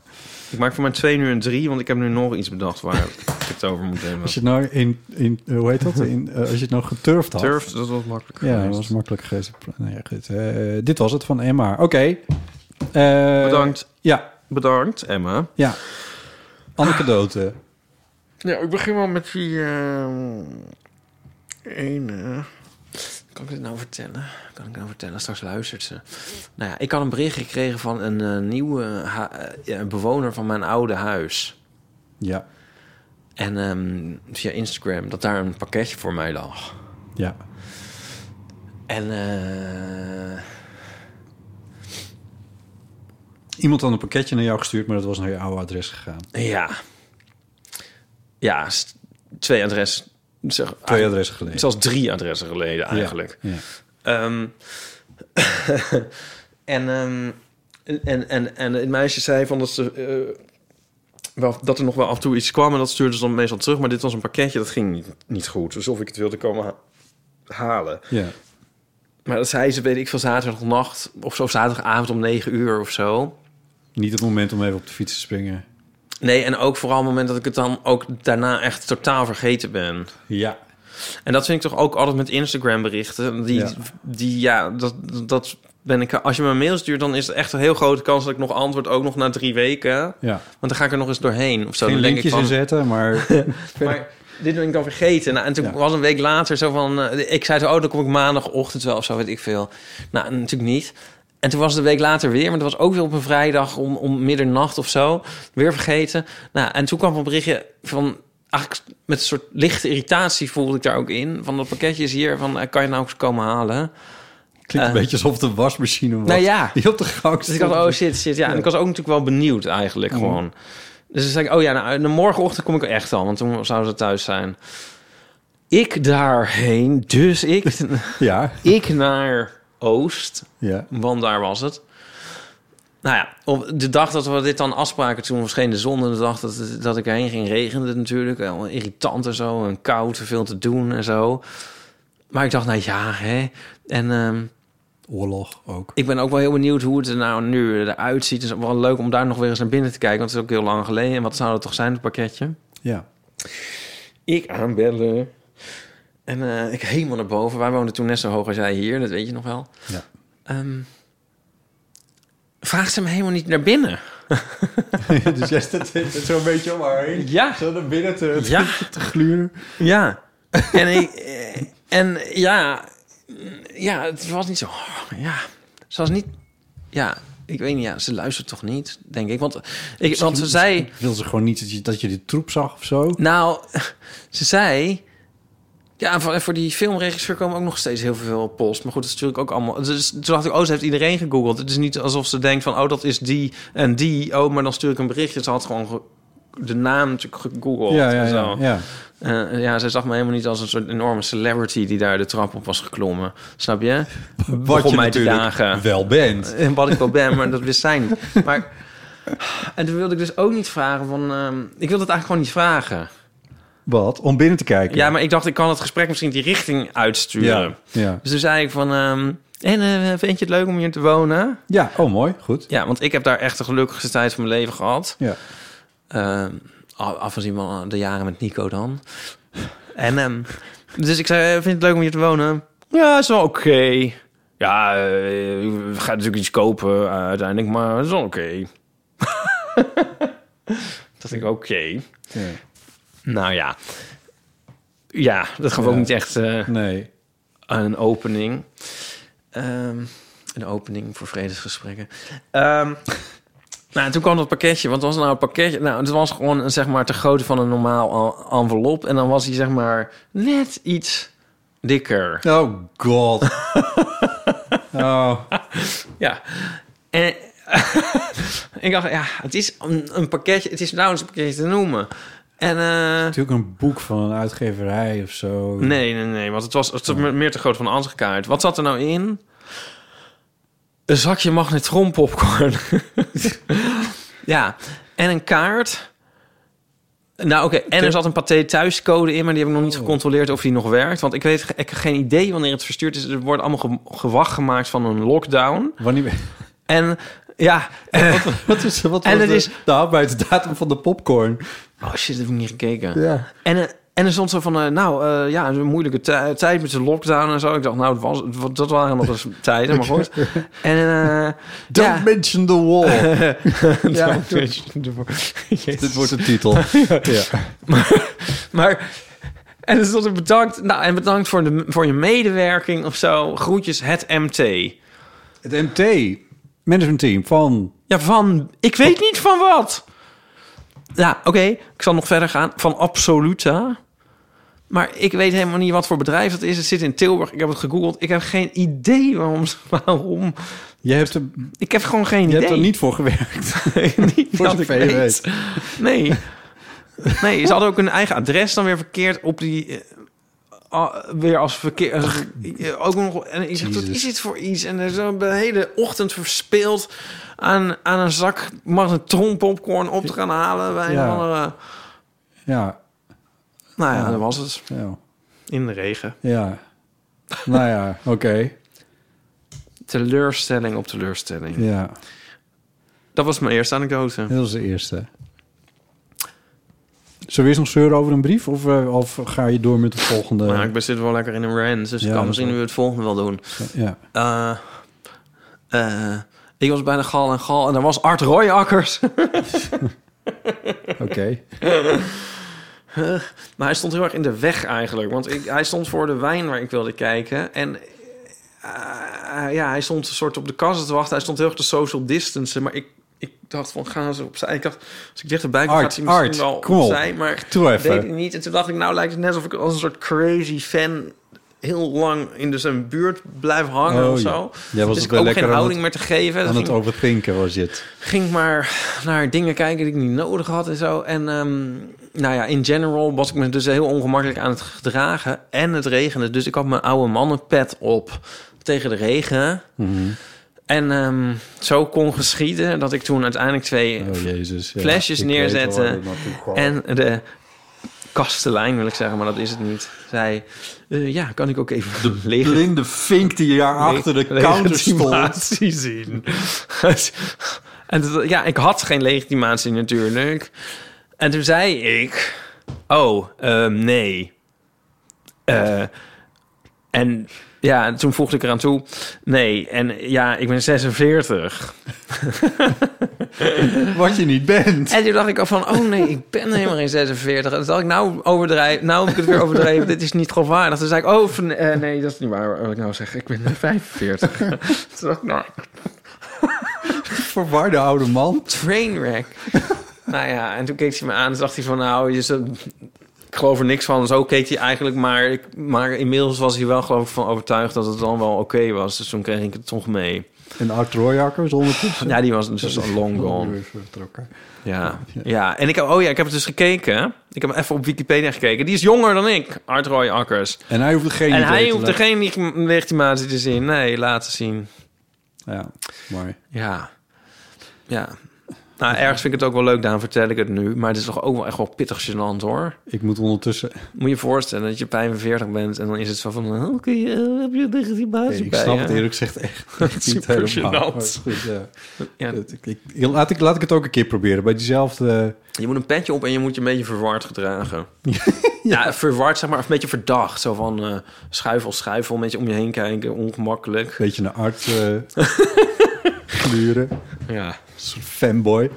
Speaker 2: Ik maak voor mijn twee nu een drie, want ik heb nu nog iets bedacht waar ik het over moet hebben.
Speaker 1: Als je het nou in, in eh, hoe heet dat? In, eh, als je het nou geturfd had.
Speaker 2: Turf, dat was makkelijk
Speaker 1: Ja, dat
Speaker 2: geweest.
Speaker 1: was makkelijk geweest. Nou ja, goed. Eh, dit was het van Emma. Oké. Eh,
Speaker 2: Bedankt.
Speaker 1: Ja,
Speaker 2: Bedankt, Emma.
Speaker 1: ja. Anekdote.
Speaker 2: Ja, ik begin wel met die ehm ene. Kan ik dit nou vertellen? Kan ik nou vertellen? Straks luistert ze. Nou ja, ik had een bericht gekregen van een eh, nieuwe ha- eh, ja, bewoner van mijn oude huis.
Speaker 1: Ja,
Speaker 2: En ehm, via Instagram dat daar een pakketje voor mij lag.
Speaker 1: ja.
Speaker 2: En eh,
Speaker 1: Iemand had een pakketje naar jou gestuurd, maar dat was naar je oude adres gegaan.
Speaker 2: ja. Ja, s- twee adressen. Zeg,
Speaker 1: Twee
Speaker 2: ah,
Speaker 1: adressen geleden.
Speaker 2: Zelfs drie adressen geleden
Speaker 1: Ja,
Speaker 2: eigenlijk.
Speaker 1: Ja.
Speaker 2: Ehm, en, ehm, en, en, en het meisje zei van dat ze. eh, wel, dat er nog wel af en toe iets kwam en dat stuurde ze dan meestal terug. Maar dit was een pakketje, dat ging niet, niet goed. Dus of ik het wilde komen ha- halen.
Speaker 1: Ja.
Speaker 2: Maar dat zei ze, weet ik veel, zaterdagnacht of zo, zaterdagavond om negen uur of zo.
Speaker 1: Niet het moment om even op de fiets te springen.
Speaker 2: Nee, en ook vooral het moment dat ik het dan ook daarna echt totaal vergeten ben.
Speaker 1: Ja.
Speaker 2: En dat vind ik toch ook altijd met Instagram berichten. Die,
Speaker 1: Ja.
Speaker 2: die ja, dat, dat ben ik. Als je me een mail stuurt, dan is het echt een heel grote kans dat ik nog antwoord, ook nog na drie weken.
Speaker 1: Ja.
Speaker 2: Want dan ga ik er nog eens doorheen of zo.
Speaker 1: Geen
Speaker 2: dan denk ik
Speaker 1: linkjes
Speaker 2: van,
Speaker 1: inzetten, maar
Speaker 2: maar dit ben ik dan vergeten. Nou, en toen
Speaker 1: Ja.
Speaker 2: was een week later zo van... eh, ik zei zo, oh, dan kom ik maandagochtend wel of zo, weet ik veel. Nou, natuurlijk niet. En toen was het een week later weer, maar dat was ook weer op een vrijdag om, om middernacht of zo. Weer vergeten. Nou, en toen kwam een berichtje van eigenlijk met een soort lichte irritatie voelde ik daar ook in. Van dat pakketje is hier, van eh, kan je nou eens komen halen?
Speaker 1: Klinkt een
Speaker 2: Eh.
Speaker 1: beetje alsof het een wasmachine was.
Speaker 2: Nou ja.
Speaker 1: Die op de gang
Speaker 2: Dus ik dacht,
Speaker 1: stond.
Speaker 2: oh shit, shit. Ja, Mhm. en ik was ook natuurlijk wel benieuwd eigenlijk gewoon. Dus toen zei ik, oh ja, nou, nou, morgenochtend kom ik er echt al, want toen zouden ze thuis zijn. Ik daarheen, dus ik,
Speaker 1: Ja,
Speaker 2: ik naar Oost,
Speaker 1: ja.
Speaker 2: want daar was het. Nou ja, op de dag dat we dit dan afspraken, toen verscheen de zon. En de dag dat, dat ik erheen ging, regende het natuurlijk. Wel Irritant en zo, en koud, en veel te doen en zo. Maar ik dacht, nou ja, hè. En ehm,
Speaker 1: Oorlog ook.
Speaker 2: ik ben ook wel heel benieuwd hoe het er nou nu eruit ziet. Het is wel leuk om daar nog weer eens naar binnen te kijken. Want het is ook heel lang geleden. En wat zou dat toch zijn, het pakketje?
Speaker 1: Ja.
Speaker 2: Ik aanbellen. En eh, ik helemaal naar boven. Wij woonden toen net zo hoog als jij hier. Dat weet je nog wel.
Speaker 1: Ja.
Speaker 2: Ehm, vraagt ze me helemaal niet naar binnen.
Speaker 1: dus jij staat zo'n beetje om haar heen.
Speaker 2: Ja.
Speaker 1: Zo naar binnen te, te,
Speaker 2: Ja.
Speaker 1: te gluren.
Speaker 2: Ja. En, ik, eh, en ja, ja, het was niet zo. Ja, ze was niet. Ja, ik weet niet. Ja, ze luistert toch niet, denk ik. Want, ik, want ze zei.
Speaker 1: Wil ze gewoon niet dat je, dat je die troep zag of zo?
Speaker 2: Nou, ze zei. Ja, voor, voor die filmregisseur komen ook nog steeds heel veel post. Maar goed, dat is natuurlijk ook allemaal. Dus toen dacht ik, oh, ze heeft iedereen gegoogeld. Het is niet alsof ze denkt van, oh, dat is die en die. Oh, maar dan stuur ik een berichtje. Ze had gewoon ge- de naam natuurlijk gegoogeld.
Speaker 1: ja, ja,
Speaker 2: en zo.
Speaker 1: ja, ja.
Speaker 2: Eh, ja, ze zag me helemaal niet als een soort enorme celebrity die daar de trap op was geklommen. Snap je? Begon mij te jagen.
Speaker 1: wel bent.
Speaker 2: En wat ik wel ben, maar dat wist zij niet. Maar, en toen wilde ik dus ook niet vragen van... ehm, ik wilde het eigenlijk gewoon niet vragen.
Speaker 1: Wat? Om binnen te kijken?
Speaker 2: Ja, maar ik dacht, ik kan het gesprek misschien die richting uitsturen.
Speaker 1: Ja. Ja.
Speaker 2: Dus toen zei ik van... ehm, en eh, vind je het leuk om hier te wonen?
Speaker 1: ja, oh mooi, goed.
Speaker 2: Ja, want ik heb daar echt de gelukkigste tijd van mijn leven gehad.
Speaker 1: Ja.
Speaker 2: Ehm, af afgezien van de jaren met Nico dan. En ehm, dus ik zei, eh, vind je het leuk om hier te wonen? Ja, is wel oké. Ja, eh, we gaan natuurlijk iets kopen eh, uiteindelijk, maar het is wel oké. dat ik oké.
Speaker 1: Ja.
Speaker 2: Nou ja. Ja, dat gaf ook
Speaker 1: Ja.
Speaker 2: niet echt eh,
Speaker 1: Nee.
Speaker 2: een opening. Ehm, een opening voor vredesgesprekken. Ehm, nou, en toen kwam dat pakketje. Wat was nou het pakketje? Nou, het was gewoon een, zeg maar te grootte van een normaal en- envelop. En dan was hij zeg maar net iets dikker.
Speaker 1: Oh god. oh,
Speaker 2: Ja. En ik dacht, ja, het is een, een pakketje. Het is nou eens een pakketje te noemen. En eh,
Speaker 1: natuurlijk een boek van een uitgeverij of zo.
Speaker 2: Nee, nee, nee. Want het was, het was meer te groot van een andere kaart. Wat zat er nou in? Een zakje magnetron popcorn. ja. En een kaart. Nou, oké. En er zat een paté thuiscode in, maar die heb ik nog niet gecontroleerd of die nog werkt. Want ik weet, ik heb geen idee wanneer het verstuurd is. Er wordt allemaal ge- gewacht gemaakt van een lockdown.
Speaker 1: Wanneer,
Speaker 2: En ja, eh,
Speaker 1: wat is, wat
Speaker 2: En
Speaker 1: was
Speaker 2: het
Speaker 1: de,
Speaker 2: is-
Speaker 1: de houdbaarheidsdatum van de popcorn?
Speaker 2: oh shit, dat heb ik niet gekeken.
Speaker 1: Ja.
Speaker 2: En, eh, en er stond zo van, eh, nou eh, ja, het is een moeilijke tij- tijd met de lockdown en zo. Ik dacht, nou, het was, het wa- dat waren nog eens tijden, maar goed. En eh,
Speaker 1: Don't
Speaker 2: ja,
Speaker 1: mention the wall.
Speaker 2: ja,
Speaker 1: Dit wordt de titel. ja.
Speaker 2: maar en er stond er bedankt, nou en bedankt voor, de, voor je medewerking of zo. Groetjes, het MT.
Speaker 1: Het MT, management team van...
Speaker 2: Ja, van, ik weet niet van wat. Ja, oké, ik zal nog verder gaan. Van Absoluta. Maar ik weet helemaal niet wat voor bedrijf dat is. Het zit in Tilburg. Ik heb het gegoogeld. Ik heb geen idee waarom. ze- waarom.
Speaker 1: Je hebt er,
Speaker 2: Ik heb gewoon geen
Speaker 1: je
Speaker 2: idee.
Speaker 1: hebt er niet voor gewerkt.
Speaker 2: niet
Speaker 1: Voor
Speaker 2: dat
Speaker 1: zover
Speaker 2: ik
Speaker 1: je
Speaker 2: weet. Nee. Nee, ze hadden ook hun eigen adres dan weer verkeerd op die... eh, ah, weer als verkeer... als- eh, ook nog, en ik zeg, wat
Speaker 1: Jezus.
Speaker 2: is dit voor iets? En er is een hele ochtend verspeeld aan, aan een zak magnetron popcorn op te gaan halen. Bij
Speaker 1: Ja.
Speaker 2: een andere,
Speaker 1: Ja,
Speaker 2: nou ja, dat was het.
Speaker 1: ja.
Speaker 2: In de regen.
Speaker 1: ja. Nou ja, oké.
Speaker 2: Teleurstelling op teleurstelling.
Speaker 1: Ja,
Speaker 2: Dat was mijn eerste anekdote.
Speaker 1: dat was de eerste. Zullen we eens nog zeuren over een brief? Of, eh, of ga je door met het volgende?
Speaker 2: Maar ik ben zit wel lekker in een rant, dus
Speaker 1: Ja, dat
Speaker 2: ik kan
Speaker 1: is
Speaker 2: misschien
Speaker 1: wel-
Speaker 2: nu het volgende wel doen.
Speaker 1: Ja.
Speaker 2: Eh, eh, ik was bij de Gal en Gal en daar was Art Royakkers.
Speaker 1: Oké.
Speaker 2: maar hij stond heel erg in de weg eigenlijk. Want ik, hij stond voor de wijn waar ik wilde kijken. En eh, ja, hij stond een soort op de kassen te wachten. Hij stond heel erg te social distancen. Maar ik, ik dacht van, gaan ze opzij? Ik dacht, als ik dichterbij kom,
Speaker 1: Art,
Speaker 2: gaat hij misschien
Speaker 1: Art,
Speaker 2: wel
Speaker 1: kom op.
Speaker 2: opzij. Maar
Speaker 1: Doe even.
Speaker 2: deed hij niet. En toen dacht ik, nou lijkt het net alsof ik als een soort crazy fan heel lang in de zijn buurt blijf hangen
Speaker 1: Oh,
Speaker 2: of
Speaker 1: ja.
Speaker 2: zo.
Speaker 1: Jij was
Speaker 2: dus
Speaker 1: het
Speaker 2: ik
Speaker 1: wel
Speaker 2: ook
Speaker 1: lekker
Speaker 2: geen
Speaker 1: aan
Speaker 2: houding
Speaker 1: het-
Speaker 2: meer te geven. Dus
Speaker 1: Aan het
Speaker 2: ging-
Speaker 1: overpinken was dit.
Speaker 2: ging maar naar dingen kijken die ik niet nodig had en zo. En ehm, nou ja, in general was ik me dus heel ongemakkelijk aan het gedragen. En het regende, dus ik had mijn oude mannenpet op tegen de regen. En ehm, zo kon geschieden dat ik toen uiteindelijk twee
Speaker 1: Oh jezus. ja.
Speaker 2: flesjes
Speaker 1: Ik weet al
Speaker 2: neerzetten.
Speaker 1: waar het naartoe kwam.
Speaker 2: en de kastelein wil ik zeggen, maar dat is het niet. Zei, eh, ja, kan ik ook even de lege
Speaker 1: blinde vink die daar achter de counter stond.
Speaker 2: legitimatie zien. en dat- ja, ik had geen legitimatie natuurlijk. En toen zei ik, oh, ehm, nee. Eh, en ja, en toen voegde ik eraan toe, nee, en ja, ik ben 46.
Speaker 1: Wat je niet bent.
Speaker 2: En toen dacht ik al van, oh nee, ik ben helemaal geen 46. En toen dacht ik, nou overdrijf, nou heb ik het weer overdreven, dit is niet geloofwaardig. Toen zei ik, oh van- eh, nee, dat is niet waar wat ik nou zeg, ik ben 45. toen dacht ik, nou,
Speaker 1: Verwarde oude man.
Speaker 2: trainwreck. nou ja, en toen keek hij me aan en dacht hij van... nou, je zo- ik geloof er niks van. Zo keek hij eigenlijk maar... Ik, maar inmiddels was hij wel geloof ik van overtuigd... dat het dan wel oké was. Dus toen kreeg ik het toch mee.
Speaker 1: Een oud Royakker is ondertussen.
Speaker 2: Ja, die was dus al long gone.
Speaker 1: Weer vertrokken.
Speaker 2: Ja, ja. En ik heb, oh ja, ik heb het dus gekeken. Ik heb even op Wikipedia gekeken. Die is jonger dan ik, Art Roy Akkers.
Speaker 1: En hij hoeft geen
Speaker 2: En
Speaker 1: idee
Speaker 2: hij
Speaker 1: te
Speaker 2: hoeft er geen leg- legitimatie te zien. Nee, laten zien.
Speaker 1: Ja, mooi.
Speaker 2: Ja. Ja. Nou, ergens vind ik het ook wel leuk, daarom vertel ik het nu. Maar het is toch ook wel echt wel pittig gênant, hoor.
Speaker 1: Ik moet ondertussen...
Speaker 2: Moet je je voorstellen dat je 45 bent en dan is het zo van... oh, Oké, eh, heb je legitimatie
Speaker 1: Nee, ik
Speaker 2: bij
Speaker 1: snap
Speaker 2: je?
Speaker 1: het eerlijk gezegd echt niet
Speaker 2: Super
Speaker 1: helemaal.
Speaker 2: gênant.
Speaker 1: Maar goed, ja.
Speaker 2: Ja.
Speaker 1: Dat- ik- ik- laat, ik, laat ik het ook een keer proberen. Bij diezelfde... eh,
Speaker 2: Je moet een petje op en je moet je een beetje verward gedragen. ja. verward zeg maar, of een beetje verdacht. Zo van eh schuifel, schuifel, een beetje om je heen kijken, ongemakkelijk.
Speaker 1: beetje naar arts eh gluren.
Speaker 2: Ja.
Speaker 1: Een soort fanboy.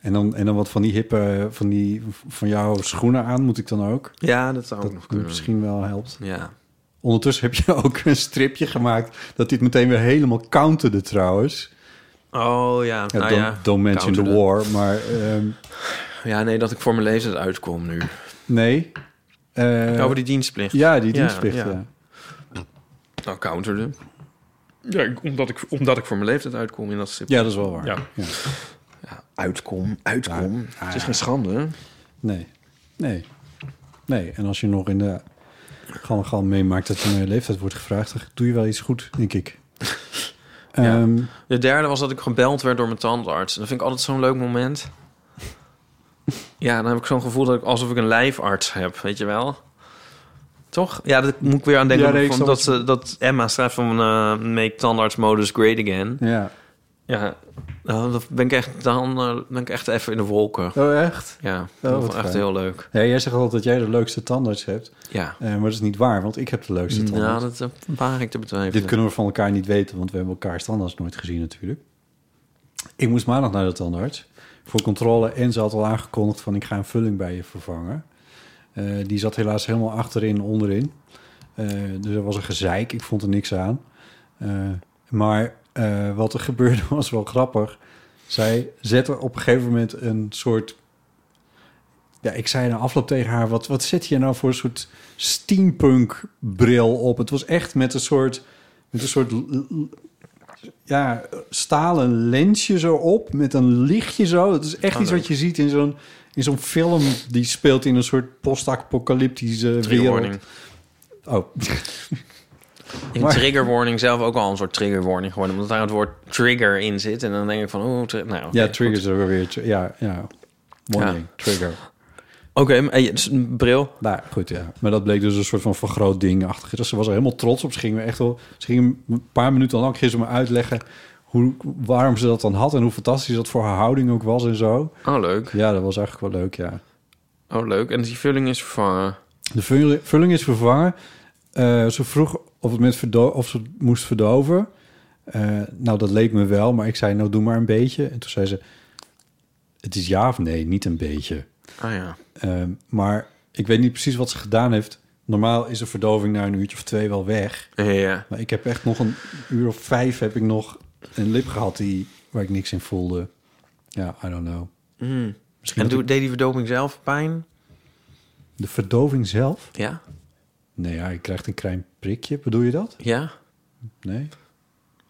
Speaker 1: En dan, en dan wat van die hippe, van, die, van jouw schoenen aan moet ik dan ook.
Speaker 2: Ja, dat zou ook nog
Speaker 1: Dat
Speaker 2: kunnen.
Speaker 1: misschien wel helpt.
Speaker 2: Ja.
Speaker 1: Ondertussen heb je ook een stripje gemaakt dat dit meteen weer helemaal counterde trouwens.
Speaker 2: Oh ja,
Speaker 1: Ja,
Speaker 2: nou
Speaker 1: don't,
Speaker 2: ja.
Speaker 1: don't mention the
Speaker 2: Counterde.
Speaker 1: war, maar ehm,
Speaker 2: Ja, nee, dat ik voor mijn lezers uitkom nu.
Speaker 1: nee. Eh,
Speaker 2: Over die dienstplicht.
Speaker 1: Ja, die
Speaker 2: Ja,
Speaker 1: dienstplicht.
Speaker 2: ja.
Speaker 1: ja.
Speaker 2: Nou, counterde. Ja, ik- omdat ik, omdat ik voor mijn leeftijd uitkom in dat stip.
Speaker 1: Ja, dat is wel waar.
Speaker 2: Ja.
Speaker 1: Ja.
Speaker 2: Uitkom, uitkom. het is
Speaker 1: ja.
Speaker 2: geen schande. hè?
Speaker 1: Nee, nee, nee. En als je nog in de gal gal meemaakt dat je naar je leeftijd wordt gevraagd, dan doe je wel iets goed, denk ik.
Speaker 2: Ja.
Speaker 1: Ehm,
Speaker 2: De derde was dat ik gebeld werd door mijn tandarts. En dat vind ik altijd zo'n leuk moment. ja, dan heb ik zo'n gevoel dat ik alsof ik een lijfarts heb, weet je wel. Toch? Ja, dat moet ik weer aan denken.
Speaker 1: Ja, nee, ik
Speaker 2: van
Speaker 1: snap
Speaker 2: dat,
Speaker 1: wat
Speaker 2: ze, dat Emma schrijft van eh, make tandarts modus great again.
Speaker 1: ja.
Speaker 2: Ja, nou, dat ben ik echt, dan eh, ben ik echt even in de wolken.
Speaker 1: Oh, echt?
Speaker 2: Ja,
Speaker 1: wat
Speaker 2: dat vond ik echt
Speaker 1: fijn.
Speaker 2: heel leuk.
Speaker 1: Ja, jij zegt altijd dat jij de leukste tandarts hebt.
Speaker 2: Ja,
Speaker 1: Eh, maar dat is niet waar, want ik heb de leukste tandarts.
Speaker 2: ja dat eh, waag ik te betwijfelen.
Speaker 1: Dit kunnen we van elkaar niet weten, want we hebben elkaar standaards nooit gezien natuurlijk. Ik moest maandag naar de tandarts voor controle en ze had al aangekondigd van ik ga een vulling bij je vervangen. Eh, die zat helaas helemaal achterin, onderin. Eh, dus er was een gezeik, ik vond er niks aan. Eh, maar eh, wat er gebeurde was wel grappig. Zij zette op een gegeven moment een soort... Ja, ik zei in de afloop tegen haar, wat, wat zit je nou voor een soort steampunk bril op? Het was echt met een soort, met een soort l- l- ja, stalen lensje zo op, met een lichtje zo. Het is echt
Speaker 2: Oh,
Speaker 1: iets wat je ziet in zo'n in zo'n film die speelt in een soort post-apocalyptische
Speaker 2: Trigger
Speaker 1: wereld.
Speaker 2: warning.
Speaker 1: Oh,
Speaker 2: Ik
Speaker 1: Maar-
Speaker 2: vind trigger warning zelf ook al een soort trigger warning geworden. Omdat daar het woord trigger in zit. En dan denk ik van, oh, tri- nou, oké,
Speaker 1: ja,
Speaker 2: goed.
Speaker 1: triggers er weer. tri- Ja, ja. Warning, trigger.
Speaker 2: Oké, maar- en je- dus een bril.
Speaker 1: Nou, goed, ja. Maar dat bleek dus een soort van vergroot ding achter. Dus ze was er helemaal trots op. Ze ging me echt wel... Ze ging een paar minuten lang gisteren me uitleggen... Hoe, waarom ze dat dan had en hoe fantastisch dat voor haar houding ook was en zo.
Speaker 2: Oh, leuk.
Speaker 1: Ja, dat was eigenlijk wel leuk, ja.
Speaker 2: Oh, leuk. En die vulling is ah, vervangen.
Speaker 1: De vulling, vulling is vervangen. Eh, ze vroeg of, het met verdo- of ze het moest verdoven. Eh, nou, dat leek me wel, maar ik zei, nou, doe maar een beetje. En toen zei ze, het is ja of nee, niet een beetje.
Speaker 2: Ah ja.
Speaker 1: Ehm, maar ik weet niet precies wat ze gedaan heeft. Normaal is de verdoving na een uurtje of twee wel weg.
Speaker 2: Ja, ja.
Speaker 1: Maar ik heb echt nog een uur of vijf heb ik nog een lip gehad die, waar ik niks in voelde. Ja, I don't know.
Speaker 2: Mm.
Speaker 1: Misschien
Speaker 2: En
Speaker 1: dat
Speaker 2: doe, deed die verdoving zelf pijn?
Speaker 1: ik- de verdoving zelf?
Speaker 2: Ja.
Speaker 1: Nee, ja, je krijgt een klein prikje. Bedoel je dat?
Speaker 2: Ja.
Speaker 1: Nee.
Speaker 2: Maar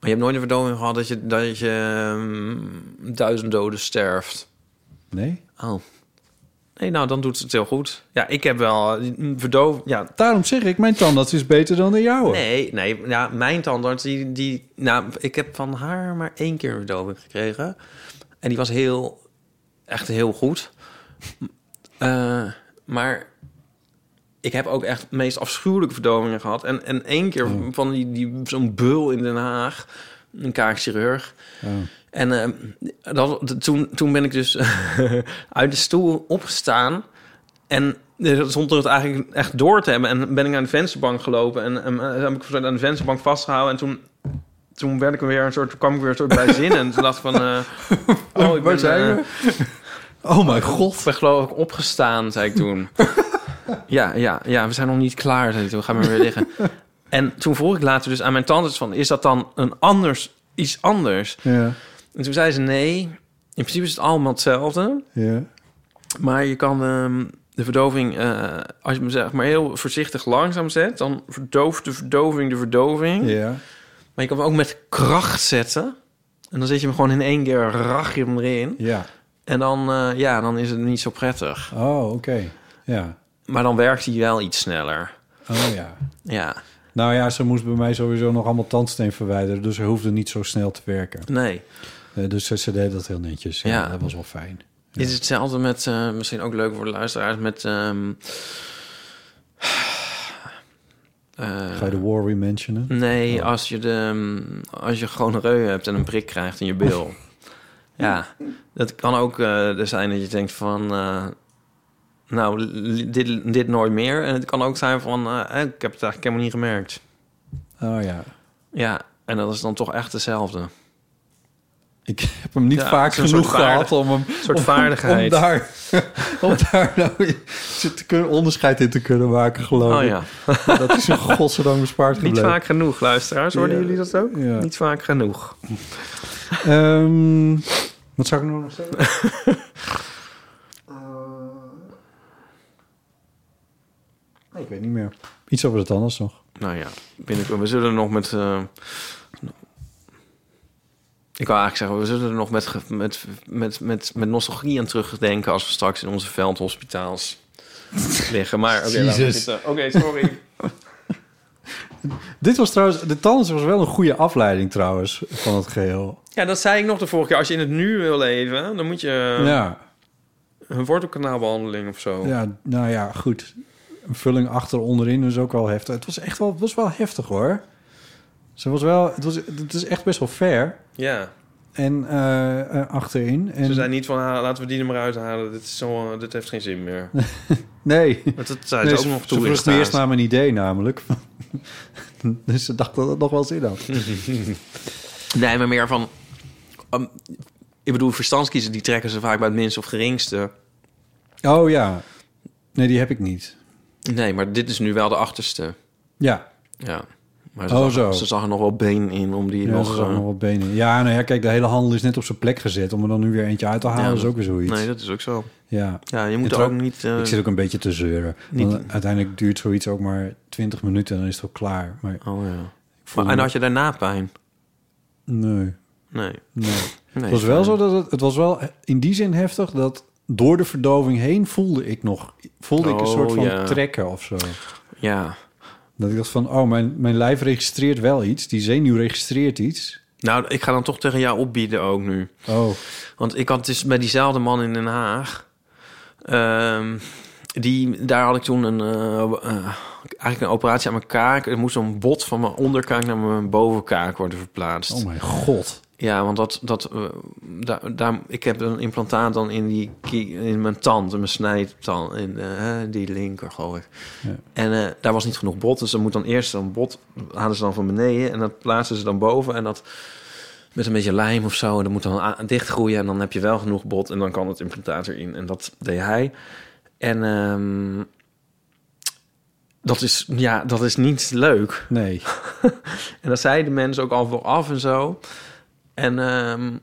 Speaker 2: je hebt nooit een verdoving gehad dat je, dat je ehm, duizend doden sterft.
Speaker 1: Nee?
Speaker 2: Oh. Nee, nou, dan doet het heel goed. Ja, ik heb wel eh, een verdoving... Ja,
Speaker 1: Daarom zeg ik, mijn tandarts is beter dan de jouwe.
Speaker 2: Nee, nee. Ja, mijn tandarts, die, die... Nou, ik heb van haar maar één keer een verdoving gekregen. En die was heel... Echt heel goed. Eh, maar ik heb ook echt de meest afschuwelijke verdovingen gehad. En, en één keer van die, die, zo'n beul in Den Haag. Een kaakchirurg. En eh, dat, toen, toen ben ik dus uit de stoel opgestaan. En eh, zonder het eigenlijk echt door te hebben. En ben ik naar de vensterbank gelopen. En, en eh, heb ik zo aan de vensterbank vastgehouden. En toen, toen werd ik weer een soort, kwam ik weer een soort bij zin. En toen dacht ik van... eh, oh, ik ben,
Speaker 1: zijn we?
Speaker 2: eh,
Speaker 1: Oh mijn god.
Speaker 2: ik ben geloof ik opgestaan, zei ik toen. ja, ja, ja, we zijn nog niet klaar, zei ik toen. Ga maar weer liggen. En toen vroeg ik later dus aan mijn tandarts van... Is dat dan een anders, iets anders?
Speaker 1: Ja,
Speaker 2: En toen zei ze nee. In principe is het allemaal hetzelfde.
Speaker 1: ja.
Speaker 2: Maar je kan ehm, de verdoving, eh, als je hem zeg maar heel voorzichtig langzaam zet, dan verdooft de verdoving de verdoving.
Speaker 1: Ja.
Speaker 2: Maar je kan hem ook met kracht zetten. En dan zet je hem gewoon in één keer, rach je hem erin.
Speaker 1: Ja.
Speaker 2: En dan, eh, ja, dan is het niet zo prettig.
Speaker 1: Oh, oké. Ja.
Speaker 2: Maar dan werkt hij wel iets sneller.
Speaker 1: Oh ja.
Speaker 2: Ja,
Speaker 1: Nou ja, ze moest bij mij sowieso nog allemaal tandsteen verwijderen. Dus ze hoefde niet zo snel te werken.
Speaker 2: nee.
Speaker 1: Eh, dus ze, ze deed dat heel netjes. Ja,
Speaker 2: Ja.
Speaker 1: Dat was wel fijn.
Speaker 2: Dit is hetzelfde met, eh, misschien ook leuk voor de luisteraars, met... ehm, eh,
Speaker 1: Ga je de war mentionen?
Speaker 2: Nee,
Speaker 1: Oh.
Speaker 2: als je, de, ehm, als je gewoon een reu hebt en een prik krijgt in je bil. ja, dat kan ook eh, er zijn dat je denkt van... eh, nou, li- dit, dit nooit meer. En het kan ook zijn van... eh, ik heb het eigenlijk helemaal niet gemerkt.
Speaker 1: Oh ja.
Speaker 2: Ja, en dat is dan toch echt hetzelfde.
Speaker 1: Ik heb hem niet
Speaker 2: Ja,
Speaker 1: vaak
Speaker 2: het is een
Speaker 1: genoeg
Speaker 2: soort vaardig-
Speaker 1: gehad om hem...
Speaker 2: soort
Speaker 1: om-
Speaker 2: vaardigheid.
Speaker 1: Om daar, om daar nou zit te kunnen, onderscheid in te kunnen maken, geloof
Speaker 2: Oh
Speaker 1: ik.
Speaker 2: ja,
Speaker 1: Maar Dat is een godzijdank bespaard
Speaker 2: niet
Speaker 1: gebleven.
Speaker 2: vaak genoeg, luisteraars. Hoorden
Speaker 1: Ja.
Speaker 2: jullie dat ook?
Speaker 1: Ja.
Speaker 2: Niet vaak genoeg.
Speaker 1: Ehm, wat zou ik nou nog zeggen? Eh, Nee, ik weet niet meer. Iets over het anders nog.
Speaker 2: Nou ja, binnenkort. We zullen nog met. eh, ik wou eigenlijk zeggen, we zullen er nog met, ge- met, met, met, met nostalgie aan terugdenken als we straks in onze veldhospitaals liggen. Maar oké, laten we
Speaker 1: Jezus.
Speaker 2: zitten. Oké, sorry.
Speaker 1: Dit was trouwens... De Tans was wel een goede afleiding trouwens van het geheel.
Speaker 2: Ja, dat zei ik nog de vorige keer. Als je in het nu wil leven, dan moet je eh,
Speaker 1: ja,
Speaker 2: een wortelkanaalbehandeling of zo.
Speaker 1: ja, nou ja, goed. Een vulling achter onderin is ook wel heftig. Het was echt wel, het was wel heftig hoor. Ze was wel... Het, was, het is echt best wel fair.
Speaker 2: Ja.
Speaker 1: En eh, eh, achterin. En,
Speaker 2: Ze zei niet van, ah, laten we die er maar uithalen. Dit, is zo, dit heeft geen zin meer.
Speaker 1: Nee.
Speaker 2: Maar dat zei
Speaker 1: Nee,
Speaker 2: ze ook nog toe
Speaker 1: vroeg
Speaker 2: in
Speaker 1: me
Speaker 2: staat.
Speaker 1: eerst naar mijn idee namelijk. dus ze dacht dat het nog wel zin had.
Speaker 2: Hm. Nee, maar meer van... ehm, ik bedoel, verstandskiezen die trekken ze vaak bij het minste of geringste.
Speaker 1: Oh ja. Nee, die heb ik niet.
Speaker 2: Nee, maar dit is nu wel de achterste.
Speaker 1: Ja,
Speaker 2: Ja. Maar ze,
Speaker 1: Oh,
Speaker 2: zag,
Speaker 1: zo.
Speaker 2: ze zag er nog wel been in om die
Speaker 1: ja
Speaker 2: nog...
Speaker 1: er zat
Speaker 2: eh,
Speaker 1: nog wat benen. Ja, nou ja, kijk, de hele handel is net op zijn plek gezet. Om er dan nu weer eentje uit te halen
Speaker 2: Ja,
Speaker 1: is ook weer zoiets.
Speaker 2: Nee, dat is ook zo.
Speaker 1: ja.
Speaker 2: Ja, je moet
Speaker 1: Het
Speaker 2: er ook
Speaker 1: ook-
Speaker 2: niet... eh,
Speaker 1: ik zit ook een beetje te zeuren.
Speaker 2: niet-
Speaker 1: Want uiteindelijk duurt zoiets ook maar 20 minuten en dan is het ook klaar. Maar
Speaker 2: Oh ja.
Speaker 1: voel
Speaker 2: en
Speaker 1: me-
Speaker 2: had je daarna pijn?
Speaker 1: nee,
Speaker 2: Nee.
Speaker 1: nee.
Speaker 2: nee
Speaker 1: Het was wel zo dat het, het was wel in die zin heftig dat door de verdoving heen voelde ik nog voelde ik een
Speaker 2: Oh,
Speaker 1: soort van
Speaker 2: ja.
Speaker 1: trekken of zo.
Speaker 2: Ja.
Speaker 1: Dat ik dacht van, oh, mijn, mijn lijf registreert wel iets. Die zenuw registreert iets.
Speaker 2: Nou, ik ga dan toch tegen jou opbieden ook nu.
Speaker 1: Oh,
Speaker 2: Want ik had dus bij diezelfde man in Den Haag. ehm, die, daar had ik toen een, eh, eh, eigenlijk een operatie aan mijn kaak. Er moest een bot van mijn onderkaak naar mijn bovenkaak worden verplaatst.
Speaker 1: oh mijn god.
Speaker 2: Ja, want dat, dat, eh, daar, daar, ik heb een implantaat dan in, die, kie- in mijn tand, in mijn snijtand, in eh, die linker, geloof ik.
Speaker 1: Ja.
Speaker 2: En eh, daar was niet genoeg bot, dus dan moet dan eerst een bot, halen ze dan van beneden en dat plaatsen ze dan boven en dat met een beetje lijm of zo. En dat moet dan a- dichtgroeien en dan heb je wel genoeg bot en dan kan het implantaat erin. En dat deed hij. En ehm, dat, is, ja, dat is niet leuk.
Speaker 1: Nee.
Speaker 2: En dat zeiden mensen ook al vooraf en zo. En ehm,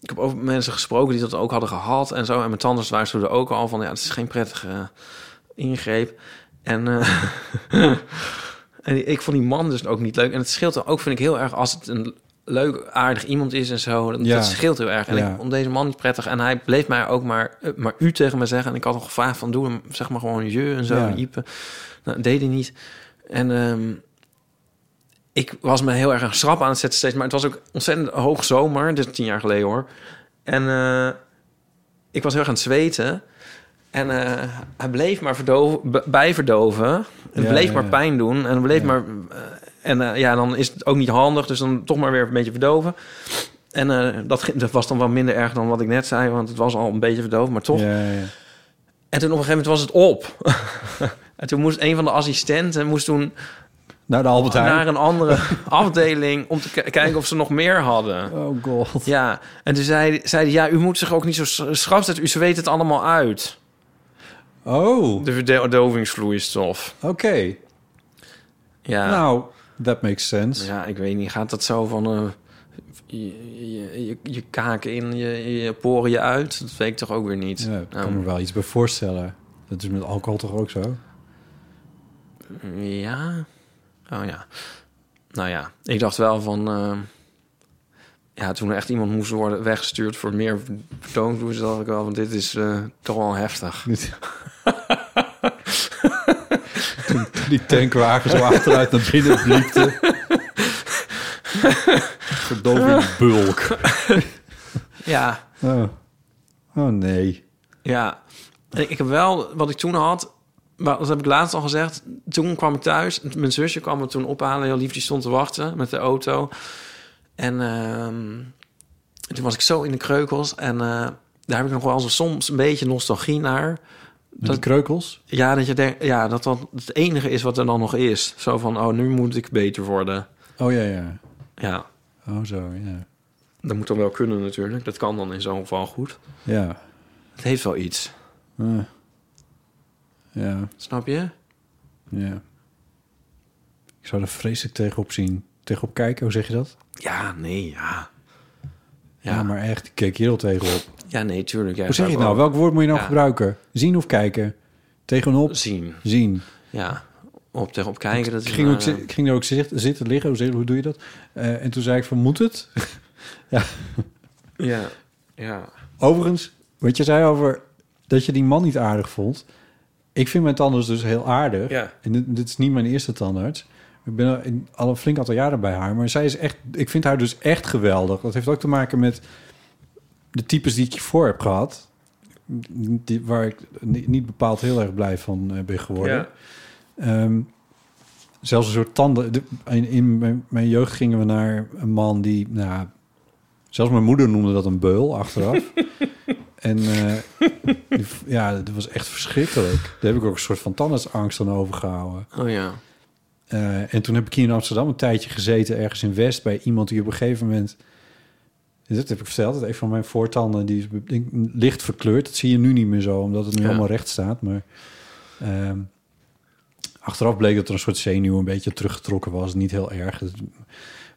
Speaker 2: Ik heb over mensen gesproken die dat ook hadden gehad en zo. En mijn tandarts waarschuwde ook al van... ja, het is geen prettige eh, ingreep. En, eh, en die- ik vond die man dus ook niet leuk. En het scheelt dan ook, vind ik, heel erg... als het een leuk, aardig iemand is en zo. Dat,
Speaker 1: Ja.
Speaker 2: dat scheelt heel erg. En
Speaker 1: Ja.
Speaker 2: ik vond deze man niet prettig. En hij bleef mij ook maar, eh, maar u tegen me zeggen. En ik had hem gevraagd van... doe hem zeg maar gewoon je en zo.
Speaker 1: Ja.
Speaker 2: En Ipe. Nou, dat deed hij niet. En... ehm, ik was me heel erg een schrap aan het zetten steeds. Maar het was ook ontzettend hoog zomer. Dit is tien jaar geleden hoor. En eh, ik was heel erg aan het zweten. En eh, hij bleef maar verdoven, b- bijverdoven. Het
Speaker 1: Ja,
Speaker 2: bleef
Speaker 1: ja,
Speaker 2: maar
Speaker 1: ja.
Speaker 2: pijn doen. En het bleef
Speaker 1: Ja.
Speaker 2: maar... eh, en eh, ja, dan is het ook niet handig. Dus dan toch maar weer een beetje verdoven. En eh, dat, ging- dat was dan wel minder erg dan wat ik net zei. Want het was al een beetje verdoven, maar toch.
Speaker 1: Ja, ja.
Speaker 2: En toen op een gegeven moment was het op. en toen moest een van de assistenten... moest toen
Speaker 1: Nou, de Albert Heijn.
Speaker 2: naar een andere afdeling om te k- kijken of ze nog meer hadden.
Speaker 1: Oh god.
Speaker 2: Ja, en toen zei zei hij, ja, u moet zich ook niet zo s- schrap zetten. U zweet het allemaal uit,
Speaker 1: Oh, oké.
Speaker 2: de verdovingsvloeistof. Ja,
Speaker 1: Nou, that makes sense.
Speaker 2: ja, ik weet niet, gaat dat zo van eh, je, je, je, je kaak in, je, je poren je uit? Dat weet ik toch ook weer niet.
Speaker 1: Ja, ik kan
Speaker 2: Nou,
Speaker 1: me wel iets bij voorstellen. Dat is met alcohol toch ook zo?
Speaker 2: Ja. Oh ja. Nou ja, ik dacht wel van... eh, ja, toen er echt iemand moest worden weggestuurd voor meer vertoonvloeistof... dacht ik wel van dit is eh, toch wel heftig.
Speaker 1: Die tankwagen zo achteruit naar binnen bliepte. Verdoving bulk.
Speaker 2: Ja,
Speaker 1: Oh. oh nee.
Speaker 2: ja. En ik heb wel, wat ik toen had... Maar dat heb ik laatst al gezegd. Toen kwam ik thuis. Mijn zusje kwam me toen ophalen. Heel lief, die stond te wachten met de auto. En ehm, toen was ik zo in de kreukels. En eh, daar heb ik nog wel zo soms een beetje nostalgie naar.
Speaker 1: Dat...
Speaker 2: Dat-
Speaker 1: Die kreukels?
Speaker 2: Ja, dat je denkt, ja, dat dat het enige is wat er dan nog is. Zo van, oh, nu moet ik beter worden.
Speaker 1: Oh ja, ja.
Speaker 2: Ja,
Speaker 1: Oh zo, ja.
Speaker 2: dat moet dan wel kunnen natuurlijk. Dat kan dan in zo'n geval goed.
Speaker 1: Ja.
Speaker 2: Het heeft wel iets.
Speaker 1: Eh. Ja,
Speaker 2: Snap je?
Speaker 1: ja. Ik zou er vreselijk tegenop zien. Tegenop kijken, hoe zeg je dat?
Speaker 2: Ja, nee, ja.
Speaker 1: Ja,
Speaker 2: Ja, ja,
Speaker 1: maar echt, ik keek hier al tegenop.
Speaker 2: nee, tuurlijk. Ja,
Speaker 1: Hoe zeg je het
Speaker 2: zou
Speaker 1: nou?
Speaker 2: ik ook
Speaker 1: Welk woord moet je nou
Speaker 2: Ja.
Speaker 1: gebruiken? Zien of kijken? Tegenop
Speaker 2: Zien,
Speaker 1: zien.
Speaker 2: ja. Op tegenop kijken, dat is...
Speaker 1: Ik ging,
Speaker 2: maar,
Speaker 1: ook, zi-
Speaker 2: eh,
Speaker 1: ik ging er ook zit- zitten liggen. Hoe, zeg- hoe doe je dat? Eh, en toen zei ik van, moet het?
Speaker 2: eh, Ja, ja.
Speaker 1: Overigens, wat je zei over dat je die man niet aardig vond. Ik vind mijn tandarts dus heel aardig.
Speaker 2: Ja.
Speaker 1: En dit, dit is niet mijn eerste tandarts. Ik ben al in- al een flink aantal jaren bij haar. Maar zij is echt, ik vind haar dus echt geweldig. Dat heeft ook te maken met de types die ik hiervoor heb gehad. Die, waar ik ni- niet bepaald heel erg blij van eh, ben geworden.
Speaker 2: Ja.
Speaker 1: Ehm, zelfs een soort tanden. de- in, in mijn, mijn jeugd gingen we naar een man die. Nou, zelfs mijn moeder noemde dat een beul achteraf. en eh, die v- ja, dat was echt verschrikkelijk. Daar heb ik ook een soort van tandartsangst aan overgehouden.
Speaker 2: Oh ja.
Speaker 1: Eh, en toen heb ik hier in Amsterdam een tijdje gezeten, ergens in West, bij iemand die op een gegeven moment. Dat heb ik verteld, dat een van mijn voortanden die is denk, ik, licht verkleurd. Dat zie je nu niet meer zo, omdat het nu
Speaker 2: Ja.
Speaker 1: allemaal recht staat. Maar ehm, achteraf bleek dat er een soort zenuw een beetje teruggetrokken was. Niet heel erg. Dat-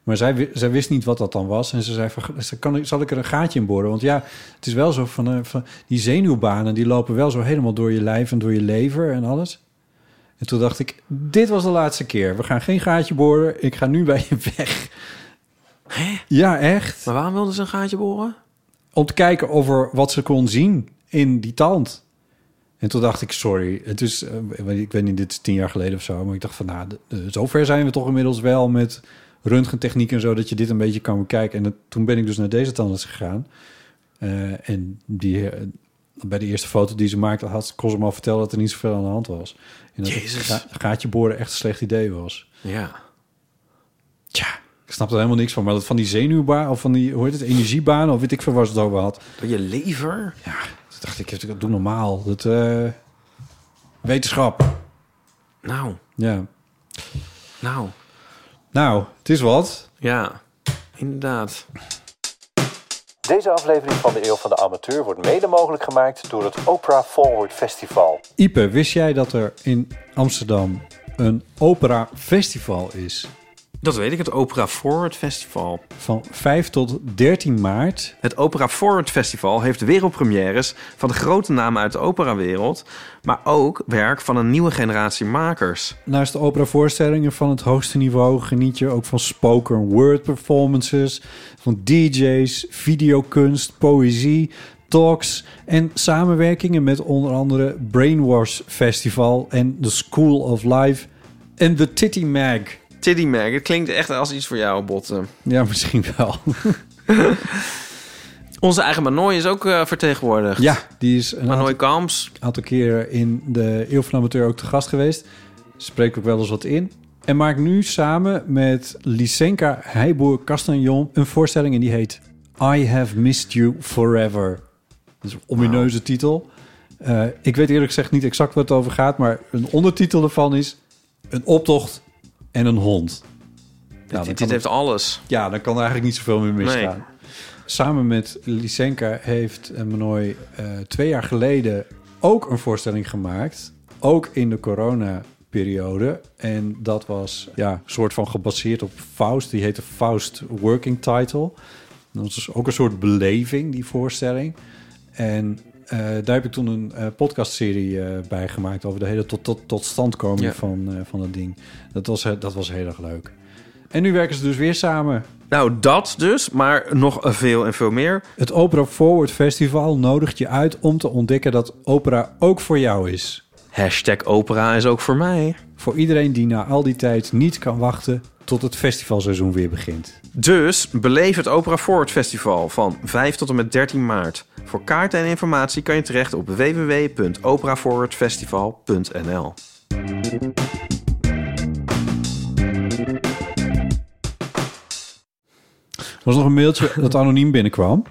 Speaker 1: Maar zij, wi- zij wist niet wat dat dan was. En ze zei van, "Ze- kan ik, zal ik er een gaatje in boren? Want ja, het is wel zo van, eh, van... Die zenuwbanen, die lopen wel zo helemaal door je lijf en door je lever en alles. En toen dacht ik, dit was de laatste keer. We gaan geen gaatje boren. Ik ga nu bij je weg. Ja, echt.
Speaker 2: Maar waarom wilden ze een gaatje boren?
Speaker 1: Om te kijken over wat ze kon zien in die tand. En toen dacht ik, sorry, het is, eh, ik weet- ik weet niet, dit is tien jaar geleden of zo. Maar ik dacht van, nou, de- de- zover zijn we toch inmiddels wel met röntgentechniek en zo... dat je dit een beetje kan bekijken. En dat- toen ben ik dus naar deze tandarts gegaan. Eh, en die, eh, bij de eerste foto die ze maakte, had kon ze me al vertellen... dat er niet zoveel aan de hand was. En dat
Speaker 2: Jezus.
Speaker 1: ga- gaatje boren echt een slecht idee was.
Speaker 2: Ja.
Speaker 1: Tja, ik snap er helemaal niks van. Maar dat van die zenuwbaan of van die, hoe heet het, energiebanen of weet ik veel waar ze het over had.
Speaker 2: Door je lever?
Speaker 1: Ja, toen dacht ik, dat doe normaal. Dat, eh, wetenschap.
Speaker 2: Nou,
Speaker 1: Ja.
Speaker 2: nou.
Speaker 1: Nou, het is wat.
Speaker 2: Ja, inderdaad.
Speaker 4: Deze aflevering van de Eeuw van de Amateur wordt mede mogelijk gemaakt door het Oprah Forward Festival.
Speaker 1: Ipe, wist jij dat er in Amsterdam een opera festival is?
Speaker 2: Dat weet ik, het Opera Forward Festival.
Speaker 1: Van 5 tot 13 maart.
Speaker 2: Het Opera Forward Festival heeft wereldpremières van de grote namen uit de operawereld, maar ook werk van een nieuwe generatie makers.
Speaker 1: Naast de operavoorstellingen van het hoogste niveau geniet je ook van spoken word performances, van DJ's, videokunst, poëzie, talks en samenwerkingen met onder andere Brainwash Festival en The School of Life en The Titty Mag.
Speaker 2: Tiddy Mag, het klinkt echt als iets voor jou, Botten.
Speaker 1: Ja, misschien wel.
Speaker 2: Onze eigen Manoy is ook eh, vertegenwoordigd.
Speaker 1: ja, die is een aantal,
Speaker 2: Manoy Kamps.
Speaker 1: aantal keren in de Eeuw van Amateur ook te gast geweest. Spreekt ook wel eens wat in. En maakt nu samen met Lysenka Heiboer Castagnon een voorstelling en die heet I Have Missed You Forever. Dat is een omineuze titel. Eh, ik weet eerlijk gezegd niet exact wat het over gaat, maar een ondertitel ervan is een optocht en een hond. Nou, dan
Speaker 2: dit dit
Speaker 1: kan het-
Speaker 2: heeft alles.
Speaker 1: ja, dan kan er eigenlijk niet zoveel meer misgaan.
Speaker 2: Nee.
Speaker 1: Samen met Lysenka heeft eh, Manoy eh, twee jaar geleden ook een voorstelling gemaakt. Ook in de coronaperiode. En dat was ja, soort van gebaseerd op Faust. Die heette Faust Working Title. Dat was dus ook een soort beleving, die voorstelling. En eh, daar heb ik toen een eh, podcastserie eh, bij gemaakt... over de hele tot, tot, totstandkoming
Speaker 2: Ja.
Speaker 1: van, eh, van dat ding. Dat was, eh, dat was heel erg leuk. En nu werken ze dus weer samen.
Speaker 2: Nou, dat dus, maar nog veel en veel meer.
Speaker 1: Het Opera Forward Festival nodigt je uit om te ontdekken dat opera ook voor jou is.
Speaker 2: Hashtag opera is ook voor mij.
Speaker 1: Voor iedereen die na al die tijd niet kan wachten tot het festivalseizoen weer begint.
Speaker 2: Dus beleef het Opera Forward Festival van 5 tot en met 13 maart. Voor kaarten en informatie kan je terecht op www.operaforwardfestival.nl.
Speaker 1: Er was nog een mailtje dat anoniem binnenkwam.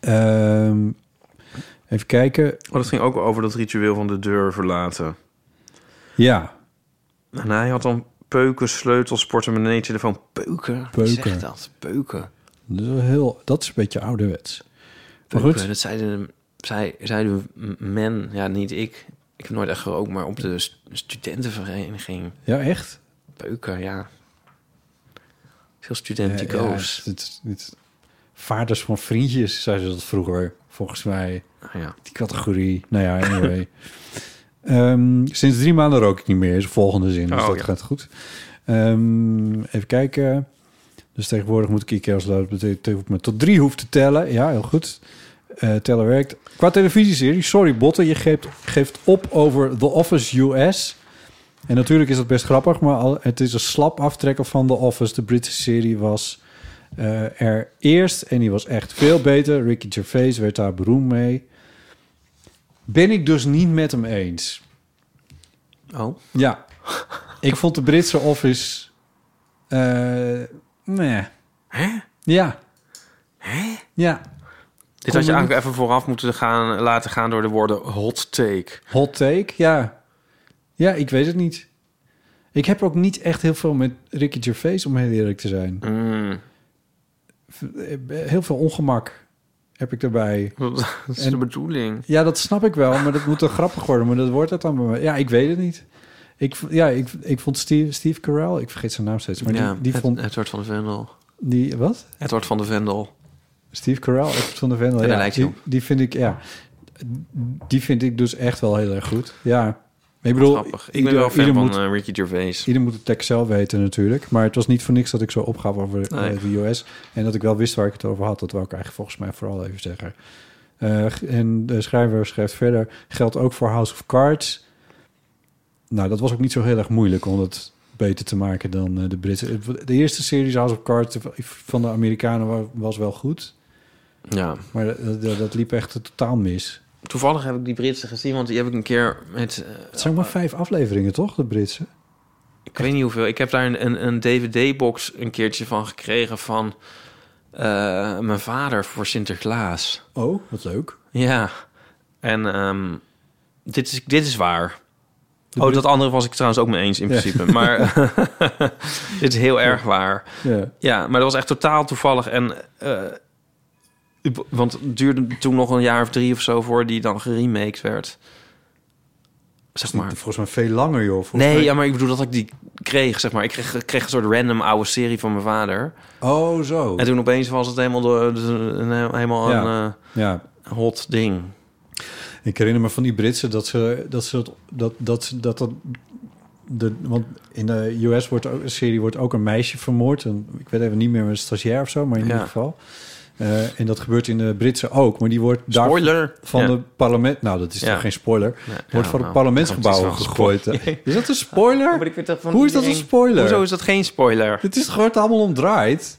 Speaker 1: Ehm, even kijken.
Speaker 2: Oh, dat ging ook over dat ritueel van de deur verlaten.
Speaker 1: Ja,
Speaker 2: En hij had dan peuken, sleutels, portemonnee, telefoon. Peuken? Wie
Speaker 1: Peuken.
Speaker 2: zegt dat? Peuken.
Speaker 1: dat is, wel heel, dat is een beetje ouderwets. Maar
Speaker 2: Peuken,
Speaker 1: goed.
Speaker 2: dat zeiden, zei, zeiden men, ja niet ik. Ik heb nooit echt gerookt, maar op de st- studentenvereniging.
Speaker 1: Ja, echt?
Speaker 2: Peuken, ja. Veel
Speaker 1: Ja, ja,
Speaker 2: studentico's.
Speaker 1: het- het- het- vaders van vriendjes, zeiden ze dat vroeger, volgens mij.
Speaker 2: Ah, ja.
Speaker 1: Die categorie. Nou ja, anyway. Ehm, sinds drie maanden rook ik niet meer, is de volgende zin. Dus
Speaker 2: Oh,
Speaker 1: dat
Speaker 2: ja.
Speaker 1: gaat goed. Ehm, even kijken. Dus tegenwoordig moet ik IKEA sluiten. Dat betekent dat ik me tot drie hoef te tellen. Ja, heel goed. Eh, tellen werkt. Qua televisieserie, sorry Botten, je geeft, geeft op over The Office US. En natuurlijk is dat best grappig, maar al- het is een slap aftrekker van The Office. De Britse serie was eh, er eerst en die was echt veel beter. Ricky Gervais werd daar beroemd mee. Ben ik dus niet met hem eens.
Speaker 2: Oh.
Speaker 1: Ja, ik vond de Britse Office... eh nee. Ja. Ja,
Speaker 2: Dit had je
Speaker 1: Kom-
Speaker 2: eigenlijk even vooraf moeten gaan, laten gaan door de woorden hot take.
Speaker 1: hot take, ja. Ja, ik weet het niet. Ik heb ook niet echt heel veel met Ricky Gervais, om heel eerlijk te zijn.
Speaker 2: Mm.
Speaker 1: Heel veel ongemak heb ik daarbij.
Speaker 2: Dat is
Speaker 1: En-
Speaker 2: de bedoeling.
Speaker 1: Ja, dat snap ik wel, maar dat moet dan grappig worden. Maar dat wordt het dan bij mij. Ja, ik weet het niet. Ik, v- ja, ik, ik vond Steve, Steve Carell, ik vergeet zijn naam steeds, maar
Speaker 2: ja,
Speaker 1: die, die
Speaker 2: het,
Speaker 1: vond...
Speaker 2: Edward van de Vendel.
Speaker 1: Die, wat?
Speaker 2: Edward van de Vendel.
Speaker 1: Steve Carell, Edward van de Vendel.
Speaker 2: Ja,
Speaker 1: Ja,
Speaker 2: daar lijkt hij
Speaker 1: die, die vind ik, ja, die vind ik dus echt wel heel erg goed. Ja, ik bedoel,
Speaker 2: Grappig. Ik
Speaker 1: ieder-
Speaker 2: ben wel fan
Speaker 1: ieder
Speaker 2: van
Speaker 1: moet,
Speaker 2: eh, Ricky Gervais.
Speaker 1: ieder moet het tekst zelf weten natuurlijk, maar het was niet voor niks dat ik zo opgaf over eh,
Speaker 2: Nee.
Speaker 1: de US en dat ik wel wist waar ik het over had. Dat wou ik eigenlijk volgens mij vooral even zeggen. Eh, en de schrijver schrijft verder, geldt ook voor House of Cards. Nou, dat was ook niet zo heel erg moeilijk om dat beter te maken dan eh, de Britten. De eerste serie House of Cards van de Amerikanen wa- was wel goed.
Speaker 2: Ja.
Speaker 1: Maar eh, dat, dat- dat liep echt totaal mis.
Speaker 2: Toevallig heb ik die Britse gezien, want die heb ik een keer met... eh,
Speaker 1: Het zijn maar vijf afleveringen, toch, de Britse?
Speaker 2: ik weet niet hoeveel. Ik heb daar een, een, een DVD-box een keertje van gekregen van eh, mijn vader voor Sinterklaas.
Speaker 1: Oh, wat leuk.
Speaker 2: Ja. En ehm, dit, is, dit is waar. oh,
Speaker 1: Brit-
Speaker 2: dat andere was ik trouwens ook mee eens in
Speaker 1: Ja.
Speaker 2: principe. Maar dit is heel erg waar.
Speaker 1: Ja.
Speaker 2: Ja, maar dat was echt totaal toevallig. En, eh, ik- want het duurde toen nog een jaar of drie of zo voor die dan geremaked werd. Zeg
Speaker 1: Maar
Speaker 2: maar.
Speaker 1: volgens mij veel langer, joh. Volgens
Speaker 2: Nee,
Speaker 1: mij-
Speaker 2: ja, maar ik bedoel dat ik die kreeg, zeg maar. Ik kreeg, ik kreeg een soort random oude serie van mijn vader.
Speaker 1: Oh, zo.
Speaker 2: En toen opeens was het helemaal, door, een, helemaal
Speaker 1: Ja.
Speaker 2: een
Speaker 1: Ja,
Speaker 2: eh, hot ding.
Speaker 1: ik herinner me van die Britsen dat ze dat ze dat dat dat ze- dat, dat de, want in de US wordt ook, serie wordt ook een meisje vermoord. En ik weet even niet meer, een stagiair of zo, maar in
Speaker 2: Ja.
Speaker 1: ieder geval. Eh, en dat gebeurt in de Britse ook, maar die wordt daar
Speaker 2: Spoiler!
Speaker 1: van
Speaker 2: Ja.
Speaker 1: het parlement. Nou, dat is
Speaker 2: Ja.
Speaker 1: toch geen spoiler.
Speaker 2: Nee,
Speaker 1: wordt van
Speaker 2: ja,
Speaker 1: het
Speaker 2: nou,
Speaker 1: parlementsgebouw
Speaker 2: het is wel een
Speaker 1: gegooid. hè. Is dat een spoiler?
Speaker 2: Oh, maar ik weet dat van
Speaker 1: Hoe is dat
Speaker 2: iedereen-
Speaker 1: een spoiler?
Speaker 2: Hoezo is dat geen spoiler?
Speaker 1: Het is gewoon allemaal omdraaid.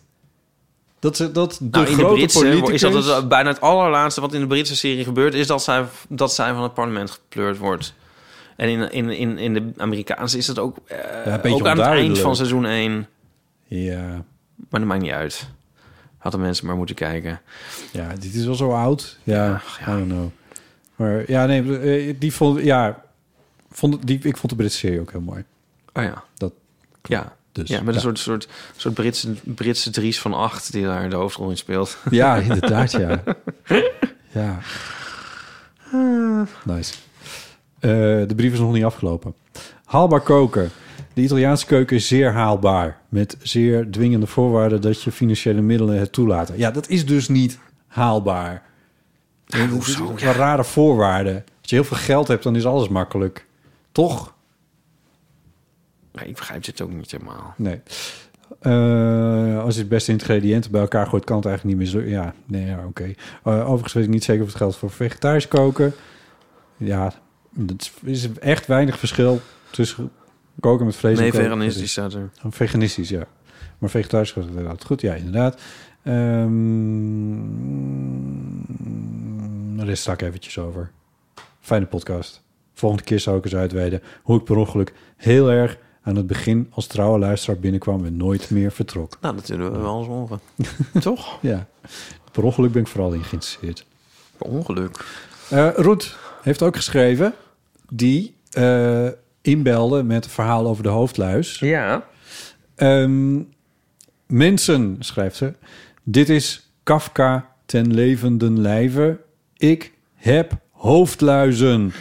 Speaker 1: Dat ze dat de
Speaker 2: Nou, in de
Speaker 1: grote
Speaker 2: Britse
Speaker 1: politicus...
Speaker 2: is dat het, eh, bijna het allerlaatste wat in de Britse serie gebeurt... is dat zij, dat zij van het parlement gepleurd wordt. En in, in, in, in de Amerikaanse is dat ook, eh,
Speaker 1: een beetje
Speaker 2: ook aan het eind
Speaker 1: onduidelijk.
Speaker 2: van seizoen 1.
Speaker 1: Ja,
Speaker 2: Maar dat maakt niet uit. Hadden mensen maar moeten kijken.
Speaker 1: Ja, dit is wel zo oud. Ja, I don't know. Maar ja, nee, eh, die vond, ja, vond, die, ik vond de Britse serie ook heel mooi.
Speaker 2: Oh ja.
Speaker 1: Dat,
Speaker 2: Ja,
Speaker 1: dus,
Speaker 2: ja met een
Speaker 1: ja.
Speaker 2: soort, soort, soort Britse, Britse Dries van Acht... die daar de hoofdrol in speelt.
Speaker 1: ja, inderdaad, ja. Ja. Nice. Eh, de brief is nog niet afgelopen. Haalbaar koken. De Italiaanse keuken is zeer haalbaar. Met zeer dwingende voorwaarden dat je financiële middelen het toelaten. Ja, dat is dus niet haalbaar. Ja, hoezo? Wel rare voorwaarden. Als je heel veel geld hebt, dan is alles makkelijk. Toch?
Speaker 2: Maar ik begrijp dit ook niet helemaal.
Speaker 1: Nee. Eh, als je het beste ingrediënten bij elkaar gooit, kan het eigenlijk niet meer zo. Ja, nee, ja, oké. Eh, overigens weet ik niet zeker of het geldt voor vegetarisch koken. Ja, dat is echt weinig verschil tussen koken met vlees
Speaker 2: Nee,
Speaker 1: en koken.
Speaker 2: veganistisch staat er.
Speaker 1: Oh, Veganistisch, ja. Maar vegetarisch gaat het inderdaad goed. Ja, inderdaad. Ehm daar sta ik eventjes over. Fijne podcast. Volgende keer zou ik eens uitweiden hoe ik per ongeluk heel erg aan het begin als trouwe luisteraar binnenkwam en nooit meer vertrok.
Speaker 2: Nou, dat zullen we wel eens horen. Toch?
Speaker 1: Ja, per ongeluk ben ik vooral in geïnteresseerd.
Speaker 2: Per ongeluk.
Speaker 1: Eh Roet heeft ook geschreven, die eh, inbelde met een verhaal over de hoofdluis.
Speaker 2: Ja.
Speaker 1: Ehm, mensen, schrijft ze. Dit is Kafka ten levenden lijve. Ik heb hoofdluizen.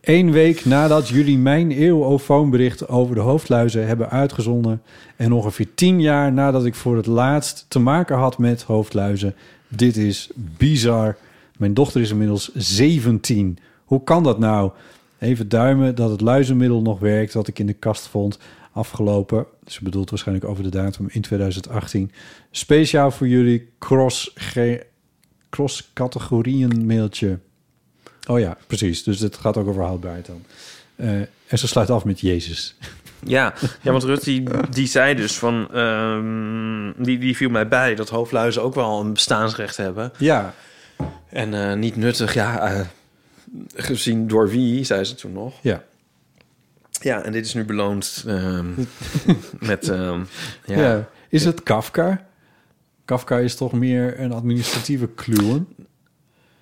Speaker 1: Eén week nadat jullie mijn eeuwofoonbericht over de hoofdluizen hebben uitgezonden... en ongeveer tien jaar nadat ik voor het laatst te maken had met hoofdluizen... dit is bizar. Mijn dochter is inmiddels 17. Hoe kan dat nou? Even duimen dat het luizenmiddel nog werkt dat ik in de kast vond afgelopen... ze bedoelt waarschijnlijk over de datum in 2018... speciaal voor jullie cross ge- cross-categorieën mailtje... Oh ja, precies. Dus het gaat ook over houdbaarheid dan. Eh, en ze sluit af met Jezus.
Speaker 2: Ja, ja want Rut die, die zei dus van... ehm, die, die viel mij bij dat hoofdluizen ook wel een bestaansrecht hebben.
Speaker 1: Ja,
Speaker 2: En eh, niet nuttig, ja... eh, gezien door wie, zei ze toen nog.
Speaker 1: ja.
Speaker 2: Ja, en dit is nu beloond ehm, met... ehm, ja.
Speaker 1: ja. Is het Kafka? Kafka is toch meer een administratieve kluwen.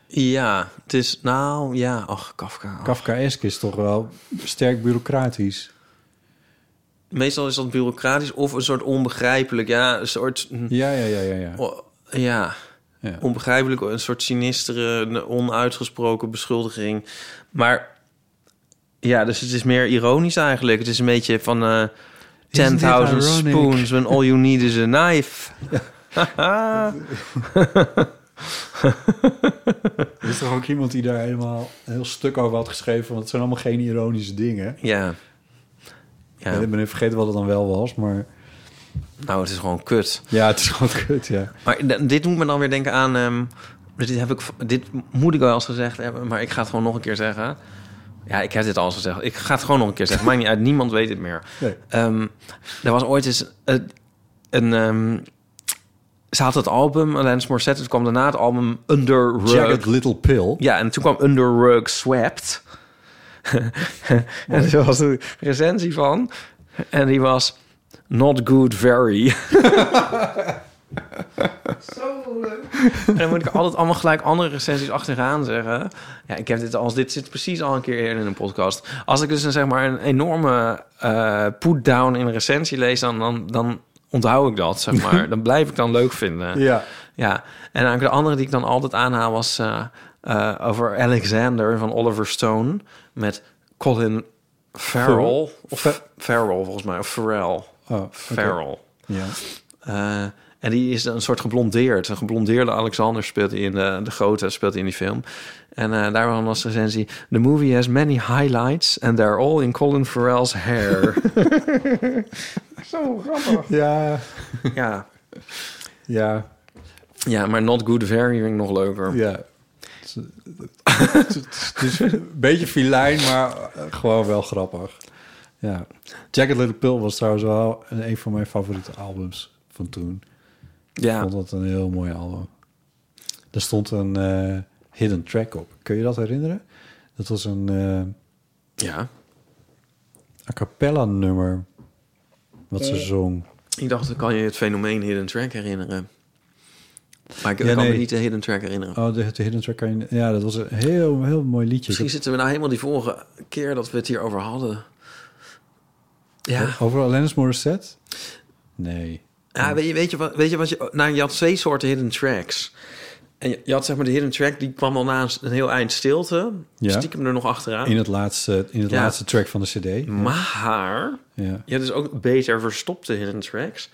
Speaker 2: Ja, het is... Nou, ja, ach, Kafka.
Speaker 1: Kafkaesk is toch wel sterk bureaucratisch.
Speaker 2: Meestal is dat bureaucratisch of een soort onbegrijpelijk... Ja, een soort... hm,
Speaker 1: Ja, ja, ja, ja. ja.
Speaker 2: Oh, ja.
Speaker 1: Ja.
Speaker 2: Onbegrijpelijk, een soort sinistere, een onuitgesproken beschuldiging. Maar ja, dus het is meer ironisch eigenlijk. Het is een beetje van eh 10.000
Speaker 1: ironic?
Speaker 2: spoons when all you need is a knife. Haha.
Speaker 1: Er is toch ook iemand die daar helemaal een heel stuk over had geschreven... want het zijn allemaal geen ironische dingen.
Speaker 2: ja.
Speaker 1: Ja.
Speaker 2: ja.
Speaker 1: Ik ben even vergeten wat het dan wel was, maar...
Speaker 2: Nou, het is gewoon kut.
Speaker 1: Ja, het is gewoon kut, ja.
Speaker 2: Maar d- dit doet me dan weer denken aan... ehm, dit, heb ik, v- dit moet ik wel eens gezegd hebben, maar ik ga het gewoon nog een keer zeggen. Ja, ik heb dit al eens gezegd. Ik ga het gewoon nog een keer zeggen. Maakt niet uit, niemand weet het meer.
Speaker 1: Nee.
Speaker 2: Ehm, er was ooit eens een... een ehm, ze had het album, Alanis Morissette. Het kwam daarna het album Under Rug.
Speaker 1: Jagged Little Pill.
Speaker 2: Ja, en toen kwam Under Rug Swept. en er was een recensie van. En die was... Not good, very. Zo En dan moet ik altijd allemaal gelijk andere recensies achteraan zeggen. Ja, ik heb dit als dit zit precies al een keer eerder in een podcast. Als ik dus een, zeg maar een enorme eh put-down in een recensie lees, dan, dan, dan onthoud ik dat, zeg maar. Dan blijf ik dan leuk vinden.
Speaker 1: Ja.
Speaker 2: Ja, en eigenlijk de andere die ik dan altijd aanhaal was... eh, eh, over Alexander van Oliver Stone met Colin Farrell. Of
Speaker 1: Fer-
Speaker 2: Farrell, volgens mij. Of Farrell.
Speaker 1: Oh, oké.
Speaker 2: Farrell.
Speaker 1: Ja.
Speaker 2: Eh, en die is een soort geblondeerd. Een geblondeerde Alexander speelt hij in de, de grote speelt hij in die film. En eh daarvan was de recensie... The movie has many highlights and they're all in Colin Farrell's hair.
Speaker 1: Ja,
Speaker 2: ja.
Speaker 1: ja,
Speaker 2: ja, maar Not Good Very vind ik nog leuker.
Speaker 1: ja. Het is- het is een beetje filijn, maar eh, gewoon wel grappig. Ja. Jacket Little Pill was trouwens wel een een van mijn favoriete albums van toen. Ik
Speaker 2: Ja,
Speaker 1: vond dat een heel mooi album. Er stond een eh, hidden track op. Kun je dat herinneren? Dat was een eh,
Speaker 2: ja.
Speaker 1: a cappella nummer wat
Speaker 2: Eh.
Speaker 1: ze zong.
Speaker 2: Ik dacht, dan kan je het fenomeen Hidden Track herinneren. Maar ik
Speaker 1: Ja,
Speaker 2: kan me
Speaker 1: nee.
Speaker 2: niet de Hidden Track herinneren.
Speaker 1: Oh, dus de, de hidden track kan je... Ja, dat was een heel, heel mooi liedje.
Speaker 2: Misschien zitten we nou helemaal die vorige keer dat we het hierover hadden. Ja,
Speaker 1: Over Alanis Morissette? Nee.
Speaker 2: ja weet, je, weet, je wat, weet je wat je... Nou, je had twee soorten Hidden Tracks. En je, je had zeg maar de Hidden Track, die kwam al na een, een heel eind stilte.
Speaker 1: Ja.
Speaker 2: Stiekem er nog achteraan.
Speaker 1: In het laatste, in het
Speaker 2: Ja.
Speaker 1: laatste track van de cd.
Speaker 2: Maar
Speaker 1: Ja.
Speaker 2: je had dus ook beter verstopte Hidden Tracks.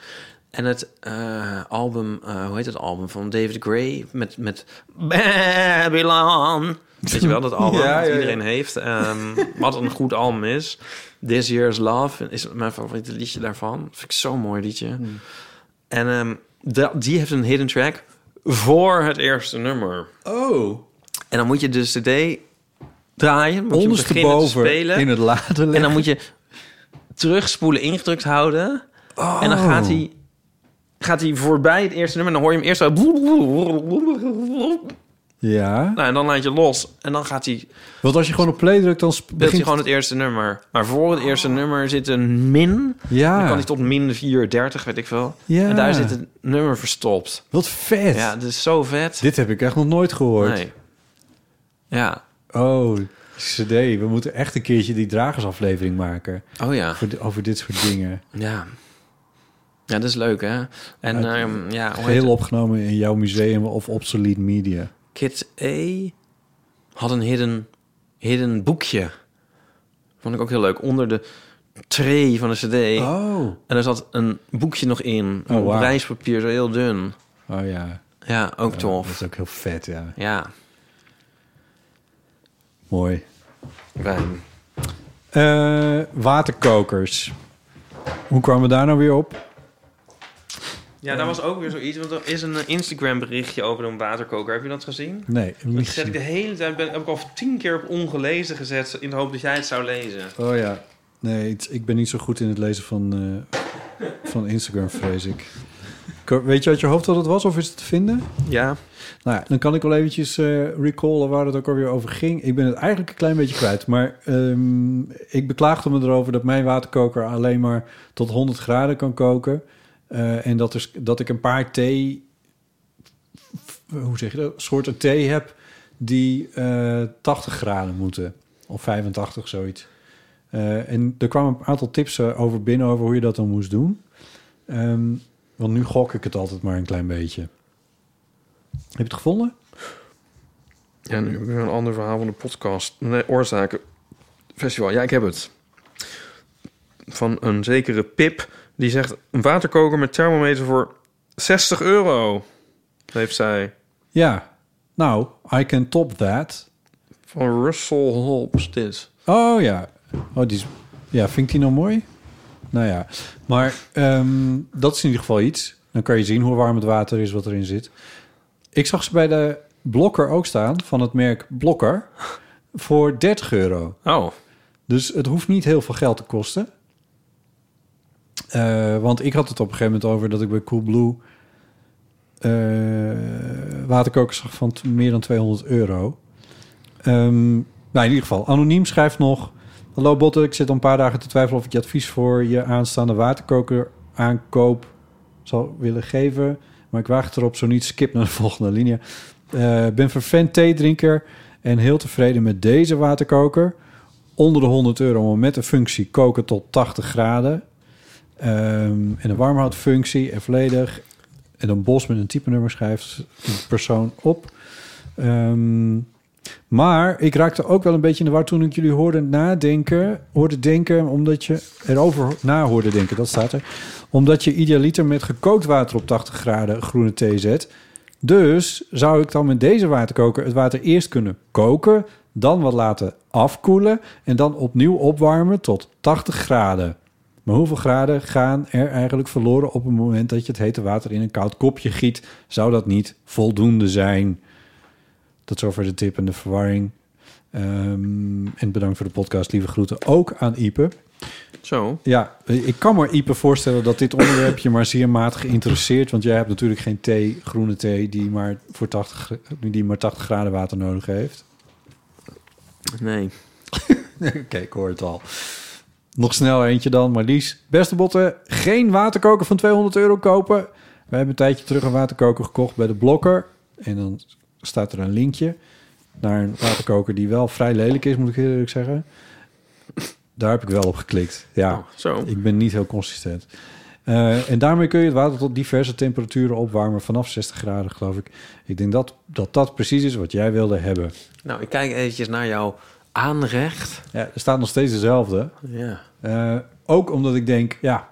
Speaker 2: En het eh, album, eh, hoe heet het album van David Gray met, met Babylon. Weet je wel dat album
Speaker 1: Ja,
Speaker 2: dat
Speaker 1: ja,
Speaker 2: iedereen
Speaker 1: ja.
Speaker 2: heeft? ehm, wat een goed album is. This Year's Love is mijn favoriete liedje daarvan. Vind ik zo'n mooi liedje.
Speaker 1: Hmm.
Speaker 2: En ehm, da- die heeft een hidden track voor het eerste nummer.
Speaker 1: Oh,
Speaker 2: En dan moet je dus de CD draaien. Moet je beginnen te spelen.
Speaker 1: ondersteboven in het lade
Speaker 2: En dan moet je terugspoelen ingedrukt houden. En
Speaker 1: Oh.
Speaker 2: dan gaat hij, gaat hij voorbij het eerste nummer. En dan hoor je hem eerst zo...
Speaker 1: Ja,
Speaker 2: Nou, en dan laat je los. En dan gaat hij, speelt
Speaker 1: want als je gewoon op play drukt, dan sp-
Speaker 2: hij
Speaker 1: begint... Oh.
Speaker 2: gewoon het eerste nummer. Maar voor het eerste nummer zit een min. Dan kan
Speaker 1: Ja,
Speaker 2: hij tot min 430, weet ik wel.
Speaker 1: Ja.
Speaker 2: En daar zit het nummer verstopt.
Speaker 1: wat vet.
Speaker 2: Ja, dat is zo vet.
Speaker 1: Dit heb ik echt nog nooit gehoord.
Speaker 2: Nee. Ja.
Speaker 1: Oh, cd. We moeten echt een keertje die dragersaflevering maken.
Speaker 2: Oh ja.
Speaker 1: Voor di- over dit soort dingen.
Speaker 2: Ja. Ja, dat is leuk, hè? En ehm, ja, hoe heet
Speaker 1: Heel opgenomen in jouw museum of obsolete media.
Speaker 2: Kids A had een hidden, hidden boekje. Vond ik ook heel leuk. Onder de tray van de cd.
Speaker 1: Oh.
Speaker 2: En er zat een boekje nog in.
Speaker 1: Oh,
Speaker 2: Op
Speaker 1: wauw.
Speaker 2: Rijspapier, zo heel dun.
Speaker 1: Oh ja.
Speaker 2: Ja, ook
Speaker 1: Dat
Speaker 2: tof.
Speaker 1: is ook heel vet, ja.
Speaker 2: Ja,
Speaker 1: Mooi.
Speaker 2: wijn.
Speaker 1: Eh, waterkokers. Hoe kwamen we daar nou weer op?
Speaker 2: Ja, daar was ook weer zoiets. Want er is een Instagram berichtje over een waterkoker. Heb je dat gezien?
Speaker 1: Nee,
Speaker 2: Dat
Speaker 1: niet
Speaker 2: zet ik
Speaker 1: gezien.
Speaker 2: de hele tijd, ben, heb ik al tien keer op ongelezen gezet... in de hoop dat jij het zou lezen.
Speaker 1: Oh ja. Nee, het- ik ben niet zo goed in het lezen van, eh, van Instagram, vrees ik. Ko- Weet je uit je hoofd wat het was of is het te vinden?
Speaker 2: Ja.
Speaker 1: Nou ja, dan kan ik wel eventjes eh, recallen waar het ook alweer over ging. Ik ben het eigenlijk een klein beetje kwijt. Maar ehm, ik beklaagde me erover dat mijn waterkoker alleen maar tot 100 graden kan koken. Eh, en dat, is, dat ik een paar thee... Hoe zeg je dat? Soorten thee heb die eh, 80 graden moeten. Of 85, zoiets. Eh, en er kwamen een aantal tips eh, over binnen over hoe je dat dan moest doen. Ehm, want nu gok ik het altijd maar een klein beetje. Heb je het gevonden?
Speaker 2: Ja, nu heb ik weer een ander verhaal van de podcast. Nee, Oorzaken Festival. Ja, ik heb het. Van een zekere Pip. Die zegt, een waterkoker met thermometer voor 60 euro. Heeft zij.
Speaker 1: Ja. Nou, I can top that.
Speaker 2: Van Russell Hobbs dit.
Speaker 1: Oh ja. Oh, die is... Ja, vind ik die nou mooi? Nou ja. Maar ehm, dat is in ieder geval iets. Dan kan je zien hoe warm het water is wat erin zit. Ik zag ze bij de Blokker ook staan, van het merk Blokker, voor 30 euro.
Speaker 2: Oh.
Speaker 1: Dus het hoeft niet heel veel geld te kosten. Eh, want ik had het op een gegeven moment over dat ik bij Coolblue... eh waterkokers zag van t- meer dan 200 euro. Ehm, nou, in ieder geval, Anoniem schrijft nog... Hallo Botte, ik zit al een paar dagen te twijfelen of ik je advies voor je aanstaande waterkoker aankoop zou willen geven. Maar ik waag het erop, zo niet, skip naar de volgende linie. Eh, Ik ben vervent theedrinker en heel tevreden met deze waterkoker onder de 100 euro, maar met een functie koken tot 80 graden. Ehm, en een warmhoudfunctie en volledig. En een bos met een type nummer schrijft een persoon op. Ehm, Maar ik raakte ook wel een beetje in de war toen ik jullie hoorde nadenken. Hoorde denken omdat je erover na hoorde denken, dat staat er. Omdat je idealiter met gekookt water op 80 graden groene thee zet. Dus zou ik dan met deze waterkoker het water eerst kunnen koken, dan wat laten afkoelen en dan opnieuw opwarmen tot 80 graden. Maar hoeveel graden gaan er eigenlijk verloren op het moment dat je het hete water in een koud kopje giet? Zou dat niet voldoende zijn? Tot zover de tip en de verwarring. Ehm, en bedankt voor de podcast. Lieve groeten ook aan Ipe.
Speaker 2: Zo.
Speaker 1: Ja, ik kan me Ipe voorstellen dat dit onderwerp je maar zeer matig interesseert. Want jij hebt natuurlijk geen thee, groene thee, die maar, voor 80, die maar 80 graden water nodig heeft.
Speaker 2: Nee.
Speaker 1: Oké, ik hoor het al. Nog snel eentje dan, Marlies. Beste botten, geen waterkoker van 200 euro kopen. We hebben een tijdje terug een waterkoker gekocht bij de Blokker. En dan staat er een linkje naar een waterkoker die wel vrij lelijk is, moet ik eerlijk zeggen. Daar heb ik wel op geklikt. Ja,
Speaker 2: Oh, Zo.
Speaker 1: ik ben niet heel consistent. Eh, en daarmee kun je het water tot diverse temperaturen opwarmen, vanaf 60 graden geloof ik. Ik denk dat dat, dat precies is wat jij wilde hebben.
Speaker 2: Nou, ik kijk eventjes naar jouw aanrecht.
Speaker 1: Ja, er staat nog steeds dezelfde.
Speaker 2: Ja.
Speaker 1: Eh, ook omdat ik denk, ja.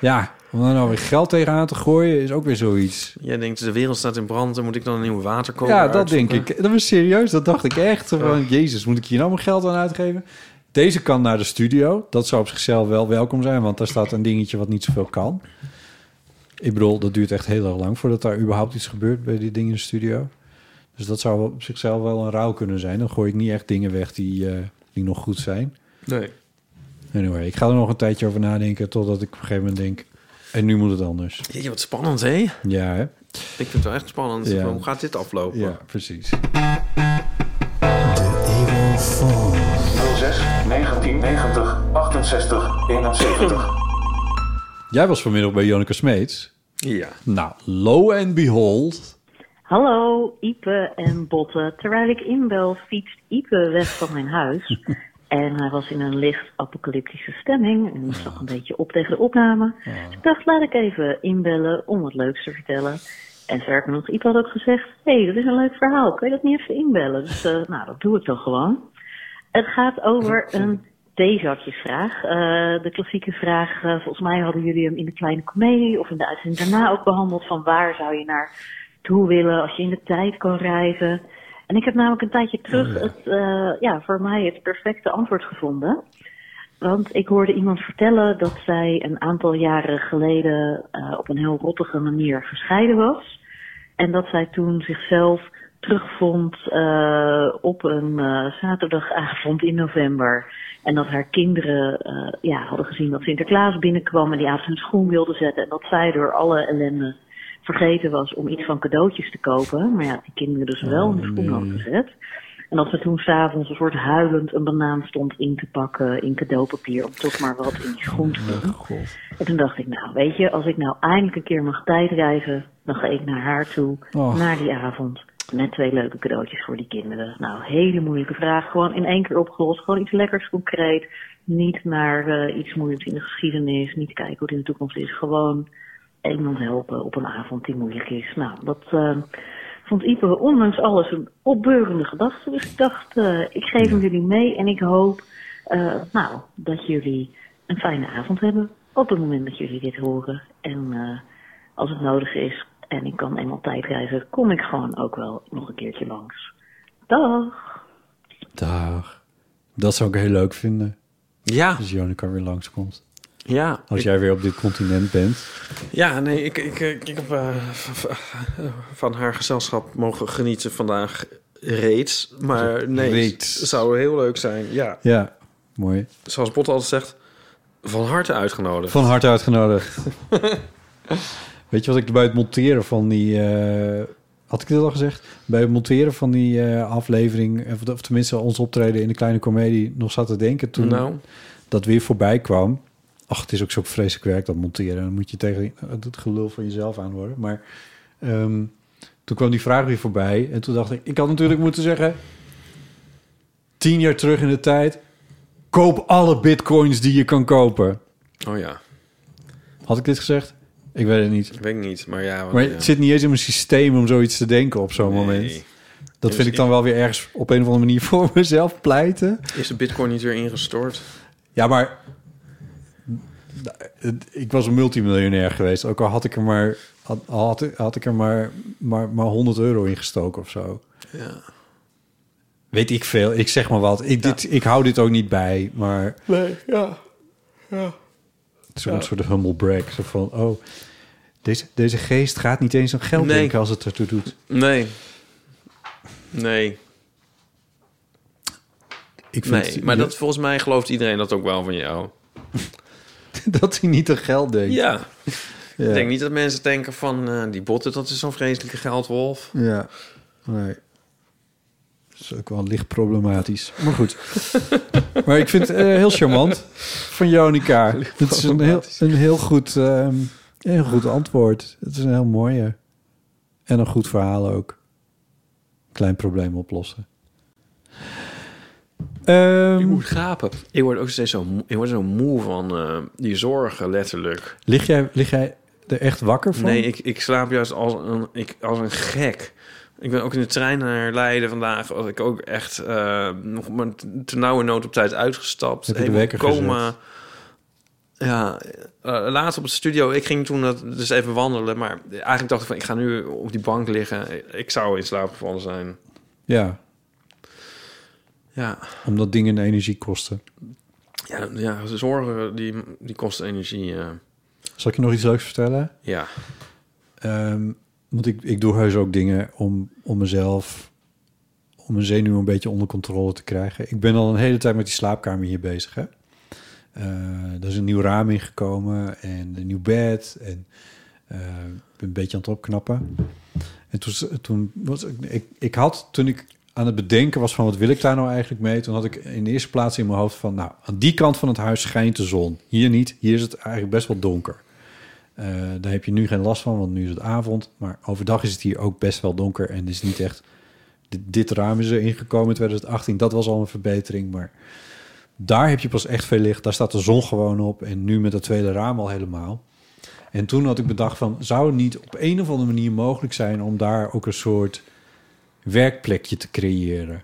Speaker 1: Ja. om daar nou weer geld tegenaan te gooien is ook weer zoiets.
Speaker 2: Jij denkt, de wereld staat in brand en moet ik dan een nieuwe waterkoker
Speaker 1: ja, dat
Speaker 2: uitzoeken?
Speaker 1: denk ik. Dat was serieus, dat dacht ik echt. Van, Jezus, moet ik hier nou mijn geld aan uitgeven? Deze kan naar de studio. Dat zou op zichzelf wel welkom zijn, want daar staat een dingetje wat niet zoveel kan. Ik bedoel, dat duurt echt heel erg lang voordat daar überhaupt iets gebeurt bij die dingen in de studio. Dus dat zou op zichzelf wel een ruil kunnen zijn. Dan gooi ik niet echt dingen weg die, eh, die nog goed zijn.
Speaker 2: Nee.
Speaker 1: Anyway, ik ga er nog een tijdje over nadenken totdat ik op een gegeven moment denk... en nu moet het anders.
Speaker 2: Jeetje, wat spannend, hè? Ik
Speaker 1: Ja, hè?
Speaker 2: vind het wel echt spannend.
Speaker 1: Ja.
Speaker 2: Hoe gaat dit aflopen?
Speaker 1: Ja, precies.
Speaker 5: 06 1990 68 71.
Speaker 1: Jij was vanmiddag bij Janneke Smeets.
Speaker 2: Ja.
Speaker 1: Nou, lo and behold...
Speaker 3: Hallo, Ipe en Botte. Terwijl ik inbel, fietst Ipe weg van mijn huis. En hij was in een licht apocalyptische stemming en moest nog een beetje op tegen de opname. Dus ik dacht, laat ik even inbellen om wat leuks te vertellen. En sterker nog, Ipe had ook gezegd, hé, hey, dat is een leuk verhaal, kun je dat niet even inbellen? Dus eh, nou, dat doe ik dan gewoon. Het gaat over een theezakjesvraag. Eh, de klassieke vraag, eh, volgens mij hadden jullie hem in de kleine comedie of in de uitzending daarna ook behandeld. Van waar zou je naar toe willen als je in de tijd kan reizen? En ik heb namelijk een tijdje terug het, eh, ja, voor mij het perfecte antwoord gevonden. Want ik hoorde iemand vertellen dat zij een aantal jaren geleden eh, op een heel rottige manier gescheiden was. En dat zij toen zichzelf terugvond eh, op een eh, zaterdagavond in november. En dat haar kinderen eh, ja, hadden gezien dat Sinterklaas binnenkwam en die avond hun schoen wilde zetten. En dat zij door alle ellende vergeten was om iets van cadeautjes te kopen. Maar ja, die kinderen dus wel hun schoen hadden gezet. En dat ze toen s'avonds een soort huilend een banaan stond in te pakken in cadeaupapier. Om toch maar wat in die schoen te doen. En toen dacht ik, nou weet je, als ik nou eindelijk een keer mag tijdreizen, dan ga ik naar haar toe,
Speaker 1: Och.
Speaker 3: naar die avond. Met twee leuke cadeautjes voor die kinderen. Nou, hele moeilijke vraag. Gewoon in één keer opgelost. Gewoon iets lekkers concreet. Niet naar eh, iets moeilijks in de geschiedenis. Niet kijken hoe het in de toekomst is. Gewoon iemand helpen op een avond die moeilijk is. Nou, dat eh, vond Ipe ondanks alles een opbeurende gedachte. Dus ik dacht, eh, ik geef hem jullie mee en ik hoop eh, nou, dat jullie een fijne avond hebben op het moment dat jullie dit horen. En eh, als het nodig is en ik kan eenmaal tijdreizen, kom ik gewoon ook wel nog een keertje langs. Dag!
Speaker 1: Dag. Dat zou ik heel leuk vinden.
Speaker 2: Ja.
Speaker 1: Als Janneke weer langskomt.
Speaker 2: Ja.
Speaker 1: Als jij weer op dit continent bent.
Speaker 2: Ja, nee, ik, ik, ik, ik heb eh, v- v- van haar gezelschap mogen genieten vandaag reeds. Maar nee,
Speaker 1: Reeds.
Speaker 2: het zou heel leuk zijn. Ja,
Speaker 1: Ja, mooi.
Speaker 2: zoals Bot altijd zegt, van harte uitgenodigd.
Speaker 1: Van harte uitgenodigd. Weet je wat ik bij het monteren van die... eh, had ik dit al gezegd? Bij het monteren van die eh, aflevering... of- of tenminste ons optreden in de kleine komedie... nog zat te denken toen...
Speaker 2: Nou,
Speaker 1: dat weer voorbij kwam. Ach, het is ook zo vreselijk werk dat monteren. Dan moet je tegen het gelul van jezelf aan worden. Maar ehm, toen kwam die vraag weer voorbij. En toen dacht ik, ik had natuurlijk moeten zeggen... tien jaar terug in de tijd... koop alle bitcoins die je kan kopen.
Speaker 2: oh ja.
Speaker 1: Had ik dit gezegd? Ik weet het niet.
Speaker 2: Ik weet niet, maar ja. eh, wat-
Speaker 1: Maar
Speaker 2: Oh, ja.
Speaker 1: het zit niet eens in mijn systeem om zoiets te denken op zo'n moment. Dat
Speaker 2: Dus
Speaker 1: vind ik dan
Speaker 2: ik-
Speaker 1: wel weer ergens op een of andere manier voor mezelf pleiten.
Speaker 2: Is de bitcoin niet weer ingestort?
Speaker 1: Ja, maar het- ik was een multimiljonair geweest. Ook al had ik er maar, had, had, had ik er maar, maar, maar 100 euro in gestoken of zo.
Speaker 2: Ja.
Speaker 1: Weet ik veel. Ik zeg maar wat. Ik, dit, ik hou dit ook niet bij. Maar
Speaker 2: Nee, ja. Ja.
Speaker 1: het is een soort humble brag. Zo van, oh, deze, deze geest gaat niet eens aan geld
Speaker 2: Nee.
Speaker 1: denken als het ertoe doet.
Speaker 2: Nee. Nee.
Speaker 1: Ik vind
Speaker 2: nee,
Speaker 1: het-
Speaker 2: maar dat, volgens mij gelooft iedereen dat ook wel van jou.
Speaker 1: dat hij niet aan geld denkt.
Speaker 2: Ja.
Speaker 1: Ja.
Speaker 2: Ik denk niet dat mensen denken van eh, die botten, dat is zo'n vreselijke geldwolf.
Speaker 1: Ja, nee. Dat is ook wel licht problematisch. Maar goed. maar ik vind het eh, heel charmant van Jonica. Het is een heel, een heel, goed, ehm, een heel goed antwoord. Het is een heel mooie. En een goed verhaal ook. Klein probleem oplossen. Ehm,
Speaker 2: Ik moet gapen. Ik word ook steeds zo, moe- ik word zo moe van eh, die zorgen, letterlijk.
Speaker 1: lig, jij, lig jij er echt wakker van?
Speaker 2: Nee, ik, ik slaap juist als een, ik, als een gek. Ik ben ook in de trein naar Leiden vandaag. Was ik ook echt eh, nog maar ten nauwe nood op tijd uitgestapt.
Speaker 1: Heb je de
Speaker 2: Even
Speaker 1: wekker gezet?
Speaker 2: Ja, eh, laatst op het studio. Ik ging toen dat, dus even wandelen. Maar eigenlijk dacht ik van, ik ga nu op die bank liggen. Ik zou in slaap gevallen zijn.
Speaker 1: Ja,
Speaker 2: Ja,
Speaker 1: omdat dingen energie kosten.
Speaker 2: ja, ja de zorgen die, die kosten energie. eh.
Speaker 1: Zal ik je nog iets leuks vertellen?
Speaker 2: ja.
Speaker 1: Ehm, want ik, ik doe heus ook dingen om, om mezelf, om mijn zenuwen een beetje onder controle te krijgen. Ik ben al een hele tijd met die slaapkamer hier bezig. Hè? Eh, er is een nieuw raam ingekomen en een nieuw bed. En eh, ik ben een beetje aan het opknappen. En toen, toen was ik, ik, ik had, toen ik aan het bedenken was van wat wil ik daar nou eigenlijk mee, toen had ik in de eerste plaats in mijn hoofd van, nou, aan die kant van het huis schijnt de zon. Hier niet, hier is het eigenlijk best wel donker. Eh, daar heb je nu geen last van, want nu is het avond. Maar overdag is het hier ook best wel donker en het is niet echt. Dit, dit raam is er ingekomen in 2018, dat was al een verbetering. Maar daar heb je pas echt veel licht. Daar staat de zon gewoon op en nu met dat tweede raam al helemaal. En toen had ik bedacht van, zou het niet op een of andere manier mogelijk zijn om daar ook een soort werkplekje te creëren?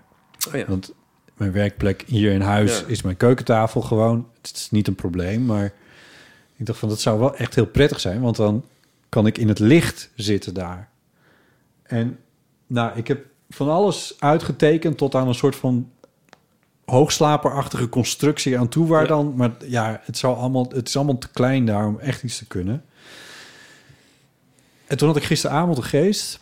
Speaker 2: Oh ja.
Speaker 1: Want mijn werkplek hier in huis
Speaker 2: Ja.
Speaker 1: is mijn keukentafel gewoon. Het is niet een probleem, maar ik dacht van dat zou wel echt heel prettig zijn, want dan kan ik in het licht zitten daar. En nou, ik heb van alles uitgetekend tot aan een soort van hoogslaperachtige constructie aan toe waar dan, maar ja, het zou allemaal, het is allemaal te klein daar om echt iets te kunnen. En toen had ik gisteravond een geest.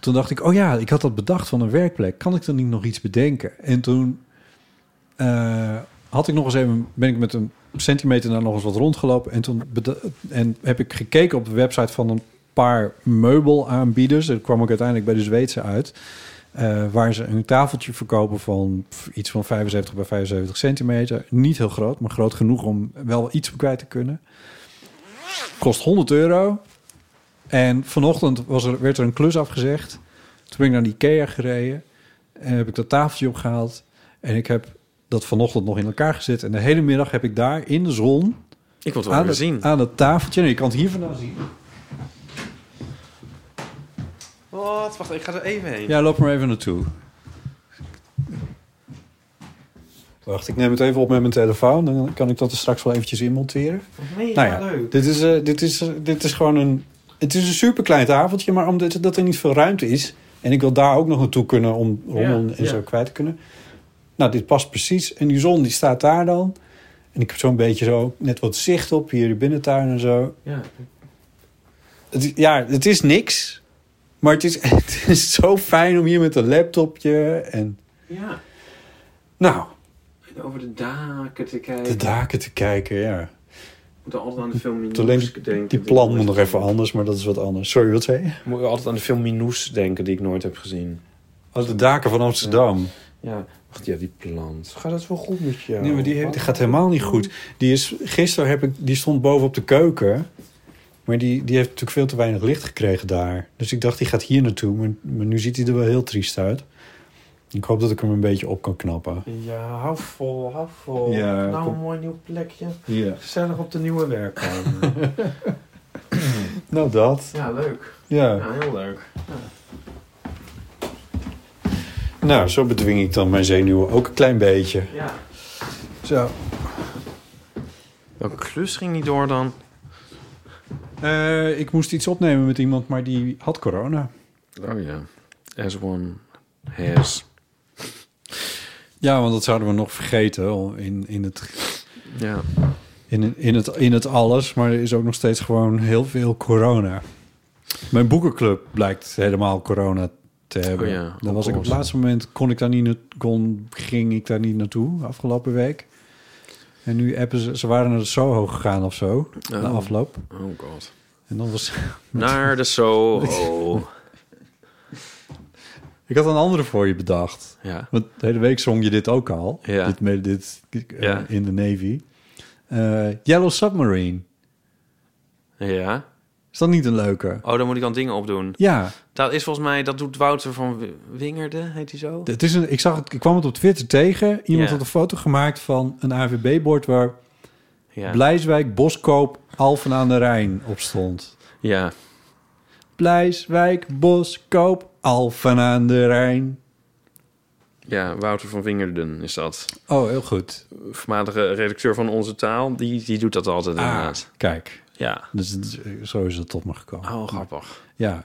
Speaker 1: Toen dacht ik, oh ja, ik had dat bedacht van een werkplek. Kan ik dan niet nog iets bedenken? En toen eh, had ik nog eens even, ben ik met een centimeter daar nog eens wat rondgelopen. En toen beda- en heb ik gekeken op de website van een paar meubelaanbieders. Dat kwam ik uiteindelijk bij de Zweedse uit. eh, waar ze een tafeltje verkopen van pff, iets van 75 bij 75 centimeter. Niet heel groot, maar groot genoeg om wel iets kwijt te kunnen. Kost 100 euro. En vanochtend was er, werd er een klus afgezegd. Toen ben ik naar de IKEA gereden. En heb ik dat tafeltje opgehaald. En ik heb dat vanochtend nog in elkaar gezet. En de hele middag heb ik daar in de zon...
Speaker 2: Ik wil het wel
Speaker 1: aan,
Speaker 2: weer
Speaker 1: het,
Speaker 2: zien.
Speaker 1: aan het tafeltje... Nee, je kan het hier vandaan zien.
Speaker 2: Wat? Wacht, ik ga er even heen.
Speaker 1: Ja, loop maar even naartoe. Wacht, ik neem het even op met mijn telefoon. Dan kan ik dat er straks wel eventjes in monteren.
Speaker 2: Nee,
Speaker 1: nou ja, Dit, is, eh, dit, is, eh, dit is gewoon een... Het is een superklein tafeltje, maar omdat dat er niet veel ruimte is... en ik wil daar ook nog naartoe kunnen om rommel en
Speaker 2: ja.
Speaker 1: zo kwijt te kunnen. Nou, dit past precies. En die zon die staat daar dan. En ik heb zo'n beetje zo net wat zicht op hier de binnentuin en zo.
Speaker 2: Ja.
Speaker 1: Het, ja, het is niks. Maar het is, het is zo fijn om hier met een laptopje en...
Speaker 2: ja.
Speaker 1: Nou,
Speaker 2: En over de daken te kijken.
Speaker 1: de daken te kijken, ja.
Speaker 2: We moeten altijd aan de film Minoes
Speaker 1: Alleen
Speaker 2: denken.
Speaker 1: die plan moet nog even anders, maar dat is wat anders. Sorry, wat zei je?
Speaker 2: We moeten altijd aan de film Minoes denken die ik nooit heb gezien.
Speaker 1: Oh, de daken van Amsterdam.
Speaker 2: Ja, wacht, ja, die plant. Gaat dat wel goed met jou?
Speaker 1: Nee, maar die, heeft- die gaat helemaal niet goed. Die is, gisteren heb ik, die stond boven op de keuken. Maar die, die heeft natuurlijk veel te weinig licht gekregen daar. Dus ik dacht, die gaat hier naartoe. Maar, maar nu ziet hij er wel heel triest uit. Ik hoop dat ik hem een beetje op kan knappen.
Speaker 2: Ja, hou vol, hou vol.
Speaker 1: Ja,
Speaker 2: nou,
Speaker 1: kom.
Speaker 2: een mooi nieuw plekje.
Speaker 1: Ja.
Speaker 2: Gezellig op de nieuwe werkkamer.
Speaker 1: Nou, dat.
Speaker 2: Ja, leuk.
Speaker 1: Ja.
Speaker 2: heel leuk.
Speaker 1: Nou, zo bedwing ik dan mijn zenuwen ook een klein beetje.
Speaker 2: Ja.
Speaker 1: Zo.
Speaker 2: Welke klus ging niet door dan?
Speaker 1: Eh, ik moest iets opnemen met iemand, maar die had corona.
Speaker 2: Oh ja. As one has.
Speaker 1: Ja, want dat zouden we nog vergeten al in, in het...
Speaker 2: Ja.
Speaker 1: In, in, het, in het alles, maar er is ook nog steeds gewoon heel veel corona. Mijn boekenclub blijkt helemaal corona te hebben.
Speaker 2: Oh ja,
Speaker 1: Dan was ik op het
Speaker 2: opgelost.
Speaker 1: laatste moment, kon ik daar niet, na- kon, ging ik daar niet naartoe afgelopen week. En nu appen ze, ze waren naar de Soho gegaan of zo, na
Speaker 2: Oh.
Speaker 1: afloop.
Speaker 2: Oh god.
Speaker 1: En dan was...
Speaker 2: Naar de Soho.
Speaker 1: Ik had een andere voor je bedacht.
Speaker 2: Ja.
Speaker 1: Want de hele week zong je dit ook al.
Speaker 2: Ja.
Speaker 1: Dit, met dit eh,
Speaker 2: Ja.
Speaker 1: in de Navy. Eh, Yellow Submarine.
Speaker 2: ja.
Speaker 1: Is dat niet een leuke?
Speaker 2: Oh, dan moet ik dan dingen opdoen.
Speaker 1: Ja.
Speaker 2: Dat is volgens mij, dat doet Wouter van Wi- Wingerde, heet hij zo?
Speaker 1: Het is een, ik, zag het, ik kwam het op Twitter tegen. Iemand
Speaker 2: Ja.
Speaker 1: had een foto gemaakt van een AVB-bord waar
Speaker 2: Ja.
Speaker 1: Blijswijk, Boskoop, Alphen aan de Rijn op stond.
Speaker 2: Ja.
Speaker 1: Blijswijk, Boskoop, Alphen aan de Rijn.
Speaker 2: Ja, Wouter van Wingerden is dat.
Speaker 1: Oh, heel goed.
Speaker 2: Voormalige redacteur van Onze Taal. Die, die doet dat altijd inderdaad.
Speaker 1: Ah, Kijk,
Speaker 2: Ja.
Speaker 1: dus het is- zo is het tot me gekomen.
Speaker 2: Oh, grappig.
Speaker 1: Ja.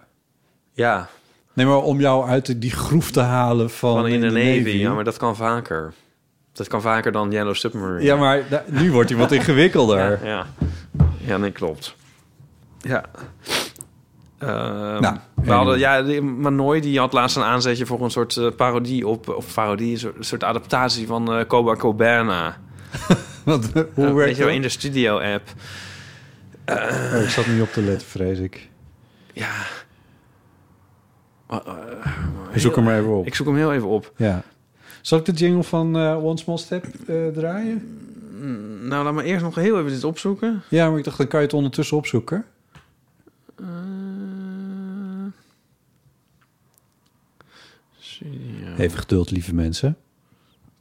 Speaker 2: Ja,
Speaker 1: Nee, maar om jou uit die groef te halen van,
Speaker 2: van in de Navy. Ja, maar dat kan vaker. Dat kan vaker dan Yellow Submarine.
Speaker 1: Ja, maar da- nu wordt hij wat ingewikkelder.
Speaker 2: Ja, ja. Ja, nee, klopt. Ja. Ehm,
Speaker 1: Nou,
Speaker 2: we hadden, ja, die Manoy die had laatst een aanzetje voor een soort eh, parodie op... Of parodie, een soort, soort adaptatie van eh Coba Coberna.
Speaker 1: Want, hoe
Speaker 2: Eh,
Speaker 1: werkt
Speaker 2: weet je wel,
Speaker 1: dat?
Speaker 2: in de studio-app.
Speaker 1: Oh, ik zat niet op te letten, vrees ik.
Speaker 2: Ja.
Speaker 1: Zoek hem maar even op.
Speaker 2: Ik zoek hem heel even op.
Speaker 1: Ja. Zal ik de jingle van eh, One Small Step eh, draaien?
Speaker 2: Nou, laat maar eerst nog heel even dit opzoeken.
Speaker 1: Ja, maar ik dacht, dan kan je het ondertussen opzoeken.
Speaker 2: Studio.
Speaker 1: Even geduld, lieve mensen.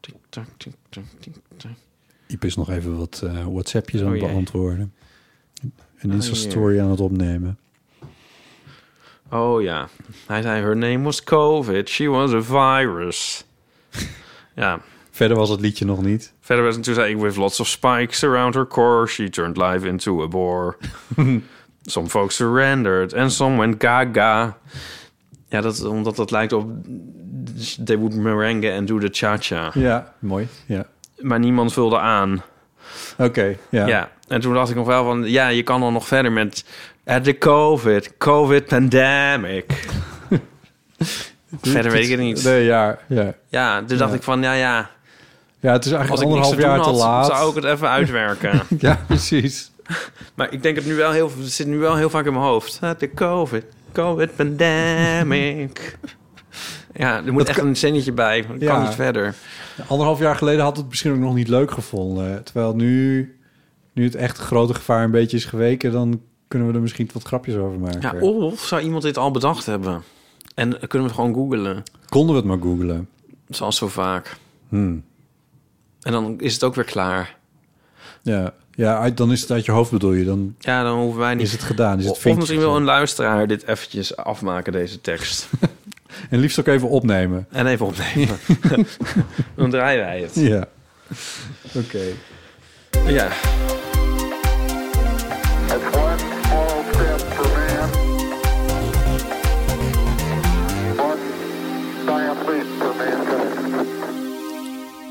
Speaker 2: Tik, tak, tik, tak, tik, tak.
Speaker 1: Iep is nog even wat eh, WhatsAppjes aan
Speaker 2: Oh,
Speaker 1: het
Speaker 2: jee.
Speaker 1: beantwoorden. Een
Speaker 2: Oh,
Speaker 1: Insta-story aan het opnemen.
Speaker 2: Oh ja. Hij zei, her name was COVID. She was a virus. ja.
Speaker 1: Verder was het liedje nog niet.
Speaker 2: Verder was natuurlijk zei, with lots of spikes around her core, she turned life into a bore. some folks surrendered and some went gaga. Ja, dat, omdat dat lijkt op they would merengue and do the cha-cha.
Speaker 1: Ja, mooi. Ja.
Speaker 2: Maar niemand vulde aan.
Speaker 1: Oké, ja.
Speaker 2: Ja. en toen dacht ik nog wel van, ja, je kan dan nog verder met at the COVID, COVID pandemic. verder weet ik het niet.
Speaker 1: Nee, ja, ja.
Speaker 2: Ja, toen dacht ik van, ja, ja.
Speaker 1: ja, het is eigenlijk
Speaker 2: Als ik niks
Speaker 1: anderhalf
Speaker 2: te doen
Speaker 1: jaar te
Speaker 2: had,
Speaker 1: laat.
Speaker 2: zou ik het even uitwerken.
Speaker 1: Ja, precies.
Speaker 2: maar ik denk het nu wel heel, het zit nu wel heel vaak in mijn hoofd. At the COVID, COVID pandemic. ja, er moet echt een zinnetje bij. want Ik
Speaker 1: Ja.
Speaker 2: kan niet verder.
Speaker 1: Anderhalf jaar geleden had het misschien ook nog niet leuk gevonden. Terwijl nu, nu het echt grote gevaar een beetje is geweken... dan kunnen we er misschien wat grapjes over maken.
Speaker 2: Ja, of zou iemand dit al bedacht hebben? En dan kunnen we het gewoon googelen,
Speaker 1: Konden we het maar googlen.
Speaker 2: zoals zo vaak.
Speaker 1: Hmm.
Speaker 2: En dan is het ook weer klaar.
Speaker 1: Ja. ja, uit- dan is het uit je hoofd bedoel je. Dan
Speaker 2: Ja, dan hoeven wij niet
Speaker 1: is het gedaan. Is het
Speaker 2: Of misschien
Speaker 1: vinkje
Speaker 2: wil een
Speaker 1: gezet.
Speaker 2: luisteraar dit eventjes afmaken, deze tekst.
Speaker 1: En liefst ook even opnemen.
Speaker 2: En even opnemen. Dan draaien wij het.
Speaker 1: Ja. Oké.
Speaker 2: Ja.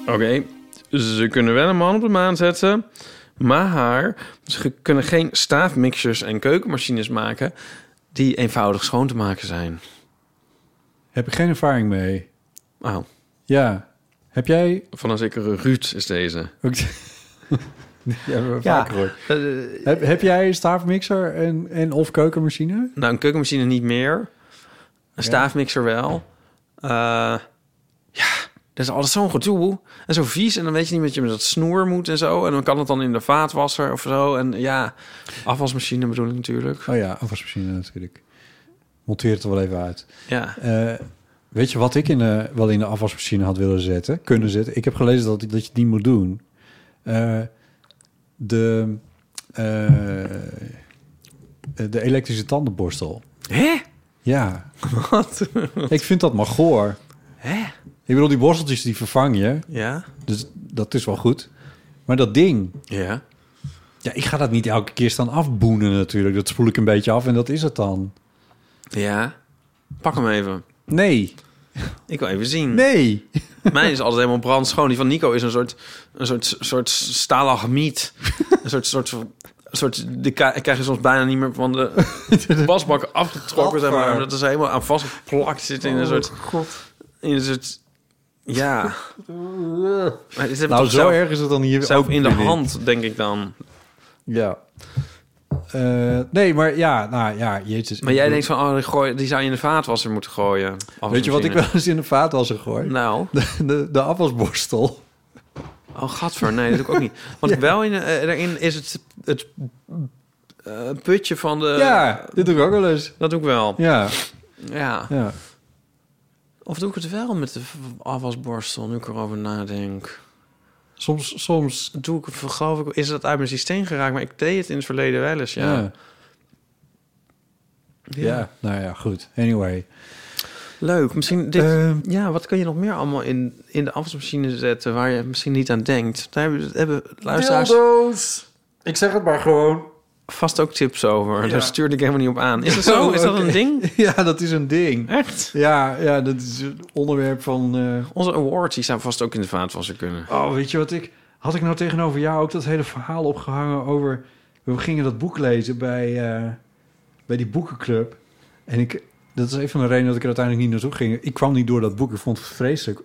Speaker 2: Oké, ze kunnen wel een man op de maan zetten, maar haar. Ze kunnen geen staafmixers en keukenmachines maken die eenvoudig schoon te maken zijn.
Speaker 1: Heb ik geen ervaring mee.
Speaker 2: Oh,
Speaker 1: Ja. Heb jij...
Speaker 2: van een zekere Ruud is deze.
Speaker 1: Ook... ja, vaak hoor.
Speaker 2: Eh,
Speaker 1: Heb, heb jij een staafmixer en, en of keukenmachine?
Speaker 2: Nou, een keukenmachine niet meer. Een staafmixer wel. Eh, ja, dat is altijd zo'n gedoe. En zo vies. En dan weet je niet wat je met dat snoer moet en zo. En dan kan het dan in de vaatwasser of zo. En ja, afwasmachine bedoel ik natuurlijk.
Speaker 1: Oh ja, afwasmachine natuurlijk. Monteer het er wel even uit.
Speaker 2: Ja.
Speaker 1: Eh, weet je wat ik in de, wel in de afwasmachine had willen zetten? Kunnen zetten? Ik heb gelezen dat, dat je die moet doen. Eh, de... eh, eh, de elektrische tandenborstel.
Speaker 2: Hè?
Speaker 1: Ja. Wat? ik vind dat maar goor.
Speaker 2: Hè?
Speaker 1: Ik bedoel, die borsteltjes die vervang je.
Speaker 2: Ja.
Speaker 1: Dus dat is wel goed. Maar dat ding.
Speaker 2: Ja.
Speaker 1: Ja, ik ga dat niet elke keer staan afboenen natuurlijk. Dat spoel ik een beetje af en dat is het dan.
Speaker 2: Ja. Pak hem even.
Speaker 1: Nee.
Speaker 2: Ik wil even zien.
Speaker 1: Nee.
Speaker 2: Mijn is altijd helemaal brandschoon. Die van Nico is een soort, een soort, soort stalagmiet. een soort, soort, soort, die ka- krijg je soms bijna niet meer van de wasbak afgetrokken. Zeg maar, dat is helemaal aan vastgeplakt zit in een soort... In een soort ja. Maar dit hebben we
Speaker 1: Nou,
Speaker 2: toch
Speaker 1: zo erg is het dan hier
Speaker 2: Zelf
Speaker 1: ook
Speaker 2: in de
Speaker 1: weer niet.
Speaker 2: hand, denk ik dan.
Speaker 1: Ja. Eh, nee, maar ja, nou ja, jezus.
Speaker 2: Maar jij denkt van, oh, die, gooi, die zou je in de vaatwasser moeten gooien.
Speaker 1: Weet je wat ik wel eens in de vaatwasser gooi?
Speaker 2: Nou.
Speaker 1: De, de, de afwasborstel.
Speaker 2: Oh, gadver. Nee, dat doe ik ook niet. Want wel in, eh, daarin is het, het eh, putje van de...
Speaker 1: ja, dit doe ik ook wel eens.
Speaker 2: Dat doe ik wel.
Speaker 1: Ja,
Speaker 2: Ja.
Speaker 1: ja.
Speaker 2: Of doe ik het wel met de afwasborstel, nu ik erover nadenk?
Speaker 1: Soms, soms.
Speaker 2: Doe ik het, geloof ik, is dat uit mijn systeem geraakt? Maar ik deed het in het verleden wel eens, ja.
Speaker 1: Ja. Ja. nou ja, goed. Anyway.
Speaker 2: Leuk. Misschien dit,
Speaker 1: Ehm.
Speaker 2: ja, wat kun je nog meer allemaal in, in de afwasmachine zetten... waar je misschien niet aan denkt? Daar hebben, hebben luisteraars
Speaker 1: Ik zeg het maar gewoon.
Speaker 2: vast ook tips over.
Speaker 1: Ja.
Speaker 2: Daar stuurde ik helemaal niet op aan. Is dat zo? Is dat een ding?
Speaker 1: Ja, dat is een ding.
Speaker 2: Echt?
Speaker 1: Ja, ja dat is een onderwerp van... eh,
Speaker 2: Onze awards die zou vast ook in de vaatwasser kunnen.
Speaker 1: Oh, weet je wat ik... Had ik nou tegenover jou ook dat hele verhaal opgehangen over... We gingen dat boek lezen bij, eh, bij die boekenclub. En ik, dat is een van de redenen dat ik er uiteindelijk niet naartoe ging. Ik kwam niet door dat boek. Ik vond het vreselijk.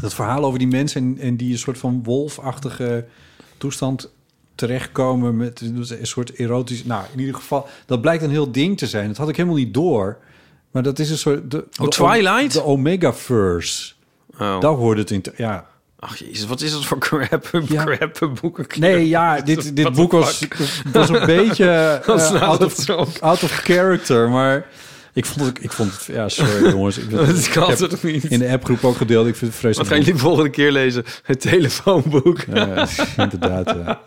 Speaker 1: Dat verhaal over die mensen en, en die een soort van wolfachtige toestand terechtkomen met een soort erotisch... Nou, in ieder geval, dat blijkt een heel ding te zijn. Dat had ik helemaal niet door. Maar dat is een soort... De, de o-
Speaker 2: Twilight?
Speaker 1: De Omega-verse.
Speaker 2: Oh.
Speaker 1: Daar hoort het in... te- ja,
Speaker 2: Ach jezus, wat is dat voor crap,
Speaker 1: Ja.
Speaker 2: crap boekenclub?
Speaker 1: Nee, ja, dit,
Speaker 2: What
Speaker 1: dit
Speaker 2: the
Speaker 1: boek was, was een beetje eh,
Speaker 2: slaat
Speaker 1: out,
Speaker 2: het
Speaker 1: of,
Speaker 2: zo op.
Speaker 1: out of character, maar ik vond het, ik vond het ja, sorry jongens. Ik,
Speaker 2: Dat kan
Speaker 1: ik heb
Speaker 2: toch niet?
Speaker 1: In de appgroep ook gedeeld, ik vind het
Speaker 2: Wat
Speaker 1: vreselijk.
Speaker 2: gaan jullie de volgende keer lezen? Het telefoonboek.
Speaker 1: Ja, ja, Eh, inderdaad, ja.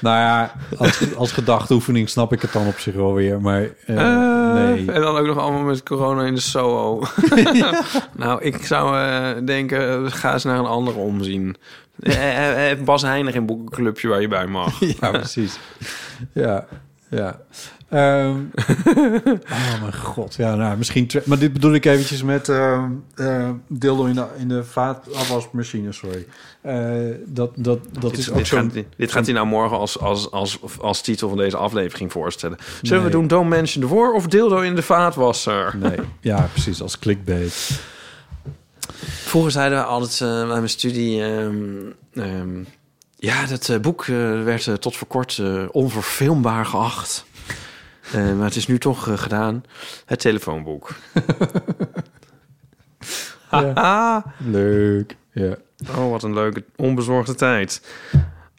Speaker 1: nou ja, als, als gedachteoefening snap ik het dan op zich wel weer, maar eh, nee.
Speaker 2: En dan ook nog allemaal met corona in de Soho. Nou, ik zou eh, denken, eh, ga eens naar een ander omzien. Eh, eh, eh, Bas Heinig in boekenclubje waar je bij mag.
Speaker 1: Ja, precies. Ja, ja. Ehm, oh mijn god. Ja, nou, misschien... twe- Maar dit bedoel ik eventjes met ehm eh, dildo in de, in de vaatafwasmachine, sorry. Eh, dat, dat, dat is ook
Speaker 2: dit,
Speaker 1: zo'n...
Speaker 2: gaat, dit gaat hij nou morgen als, als, als, als titel van deze aflevering voorstellen. Zullen
Speaker 1: Nee.
Speaker 2: we doen Don't Mention the War of Dildo in de vaatwasser?
Speaker 1: Nee, ja, precies, als clickbait.
Speaker 2: Vroeger zeiden we altijd eh, bij mijn studie... ehm, ehm, ja, dat eh, boek eh, werd eh, tot voor kort eh, onverfilmbaar geacht. Eh, maar het is nu toch eh, gedaan. Het telefoonboek.
Speaker 1: Ah.
Speaker 2: Haha.
Speaker 1: Leuk, ja.
Speaker 2: Oh, wat een leuke onbezorgde tijd.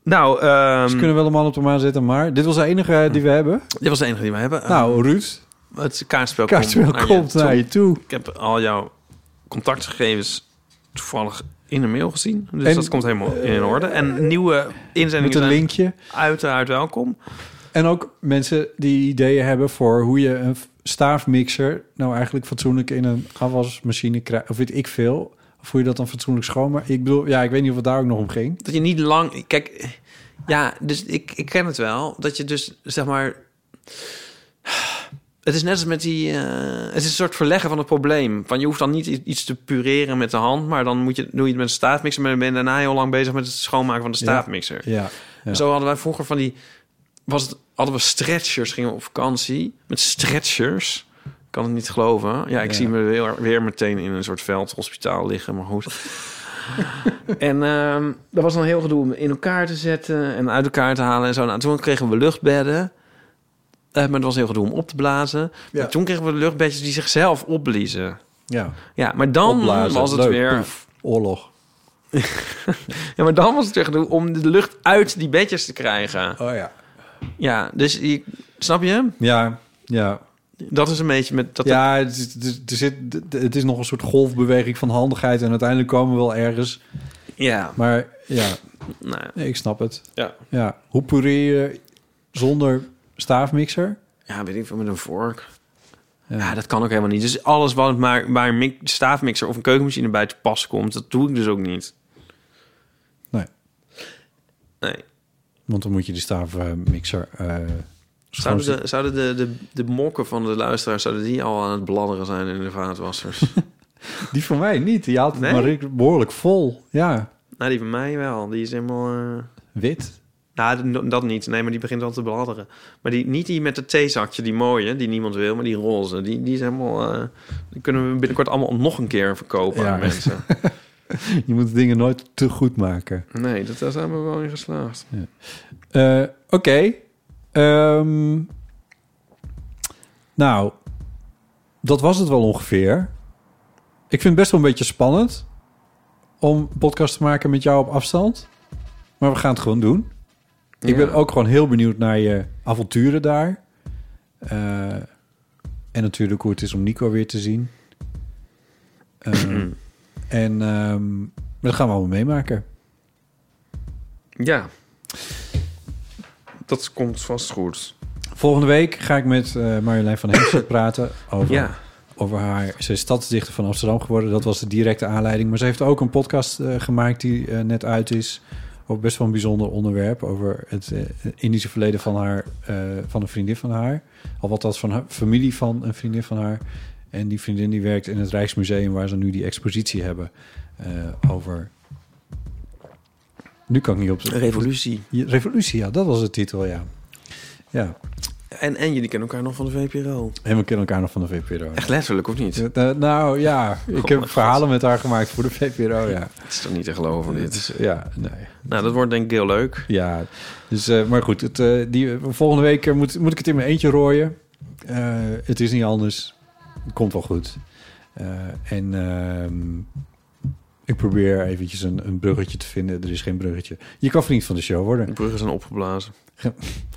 Speaker 2: Nou, ehm,
Speaker 1: Ze kunnen wel een man op de maan zetten, maar... Dit was de enige eh, die we hebben.
Speaker 2: dit was de enige die we hebben.
Speaker 1: Nou, Ruud,
Speaker 2: Eh, het kaartspel,
Speaker 1: kaartspel komt
Speaker 2: toe.
Speaker 1: naar je toe.
Speaker 2: Ik heb al jouw contactgegevens toevallig in de mail gezien. Dus
Speaker 1: En-
Speaker 2: dat komt helemaal in orde. En nieuwe inzendingen
Speaker 1: Met een
Speaker 2: zijn
Speaker 1: linkje.
Speaker 2: uiteraard welkom.
Speaker 1: En ook mensen die ideeën hebben voor hoe je een staafmixer nou eigenlijk fatsoenlijk in een afwasmachine krijgt. Of weet ik veel. Of hoe je dat dan fatsoenlijk schoonmaakt. Ik bedoel, ja, ik weet niet of het daar ook nog om ging.
Speaker 2: Dat je niet lang... Kijk, ja, dus ik, ik ken het wel. Dat je dus, zeg maar... Het is net als met die... eh, het is een soort verleggen van het probleem. Van je hoeft dan niet i- iets te pureren met de hand... maar dan moet je, doe je het met een staafmixer... maar dan ben je daarna heel lang bezig met het schoonmaken van de staafmixer.
Speaker 1: Ja. ja.
Speaker 2: Zo hadden wij vroeger van die... Was het, hadden we stretchers, gingen we op vakantie met stretchers. Ik kan het niet geloven. Ja, ik
Speaker 1: Ja.
Speaker 2: zie me weer, weer meteen in een soort veldhospitaal liggen, maar goed. en ehm dat was dan heel gedoe om in elkaar te zetten en uit elkaar te halen en zo. Nou, toen kregen we luchtbedden. Eh, maar het was heel gedoe om op te blazen.
Speaker 1: Ja.
Speaker 2: Maar toen kregen we luchtbedjes die zichzelf opbliezen.
Speaker 1: ja.
Speaker 2: Ja, maar dan
Speaker 1: Opblazen,
Speaker 2: was het
Speaker 1: leuk,
Speaker 2: weer...
Speaker 1: poef, oorlog.
Speaker 2: Ja, maar dan was het weer gedoe om de lucht uit die bedjes te krijgen.
Speaker 1: Oh ja.
Speaker 2: Ja, dus je- snap je?
Speaker 1: Ja, ja.
Speaker 2: Dat is een beetje met... Dat
Speaker 1: ja, het, is- het is- er zit, het is nog een soort golfbeweging van handigheid. En uiteindelijk komen we wel ergens.
Speaker 2: ja.
Speaker 1: Maar ja,
Speaker 2: Nou,
Speaker 1: nee, ik snap het.
Speaker 2: ja.
Speaker 1: Ja, hoe pureer je zonder staafmixer?
Speaker 2: Ja, weet ik veel, met een vork. Ja. dat kan ook helemaal niet. Dus alles wat maar, waar een mik- staafmixer of een keukenmachine bij te pas komt, dat doe ik dus ook niet.
Speaker 1: Nee.
Speaker 2: Nee.
Speaker 1: Want dan moet je die staafmixer... eh gewoon
Speaker 2: Zouden, de, zouden de, de, de mokken van de luisteraars, zouden die al aan het bladderen zijn in de vaatwassers?
Speaker 1: zitten- Die voor mij niet. Die haalt
Speaker 2: Nee?
Speaker 1: maar ik- behoorlijk vol. Ja,
Speaker 2: nou, die van mij wel. Die is helemaal... eh,
Speaker 1: wit.
Speaker 2: Nou, dat- dat niet. Nee, maar die begint al te bladderen. Maar die, niet die met het theezakje, die mooie, die niemand wil, maar die roze. Die, die is helemaal... eh, die kunnen we binnenkort allemaal nog een keer verkopen
Speaker 1: Ja.
Speaker 2: aan mensen.
Speaker 1: Je moet dingen nooit te goed maken.
Speaker 2: Nee, dat, daar zijn we wel in geslaagd.
Speaker 1: Eh, Oké. Ehm, nou, dat was het wel ongeveer. Ik vind het best wel een beetje spannend om podcast te maken met jou op afstand. Maar we gaan het gewoon doen. Ik ben ook gewoon heel benieuwd naar je avonturen daar. Eh, en natuurlijk hoe het is om Nico weer te zien. Ehm, en ehm, dat gaan we allemaal meemaken.
Speaker 2: Ja. Dat komt vast goed.
Speaker 1: Volgende week ga ik met eh, Marjolein van Heemstra praten over,
Speaker 2: Ja.
Speaker 1: over haar... Ze is stadsdichter van Amsterdam geworden. Dat was de directe aanleiding. Maar ze heeft ook een podcast eh, gemaakt die eh, net uit is. Over best wel een bijzonder onderwerp. Over het eh, Indische verleden van, haar, eh, van een vriendin van haar. Al wat dat van haar familie van een vriendin van haar. En die vriendin die werkt in het Rijksmuseum... waar ze nu die expositie hebben eh, over... Nu kan ik niet op...
Speaker 2: Revolutie.
Speaker 1: Revolutie, ja, dat was de titel, ja. Ja,
Speaker 2: En, en jullie kennen elkaar nog van de VPRO.
Speaker 1: en we kennen elkaar nog van de VPRO.
Speaker 2: Echt letterlijk, of niet?
Speaker 1: Eh, nou ja, ik
Speaker 2: Oh,
Speaker 1: heb
Speaker 2: mijn
Speaker 1: verhalen met haar gemaakt voor de VPRO, ja. Dus,
Speaker 2: Het is toch niet te geloven, Oh, dit.
Speaker 1: Ja, nee.
Speaker 2: Nou, dat wordt denk ik heel leuk.
Speaker 1: Ja, dus, eh, maar goed, het, eh, die, volgende week eh, moet, moet ik het in mijn eentje rooien. Eh, het is niet anders. Het komt wel goed. Eh, en ehm, ik probeer eventjes een, een bruggetje te vinden. Er is geen bruggetje. Je kan vriend van de show worden.
Speaker 2: De bruggen zijn opgeblazen.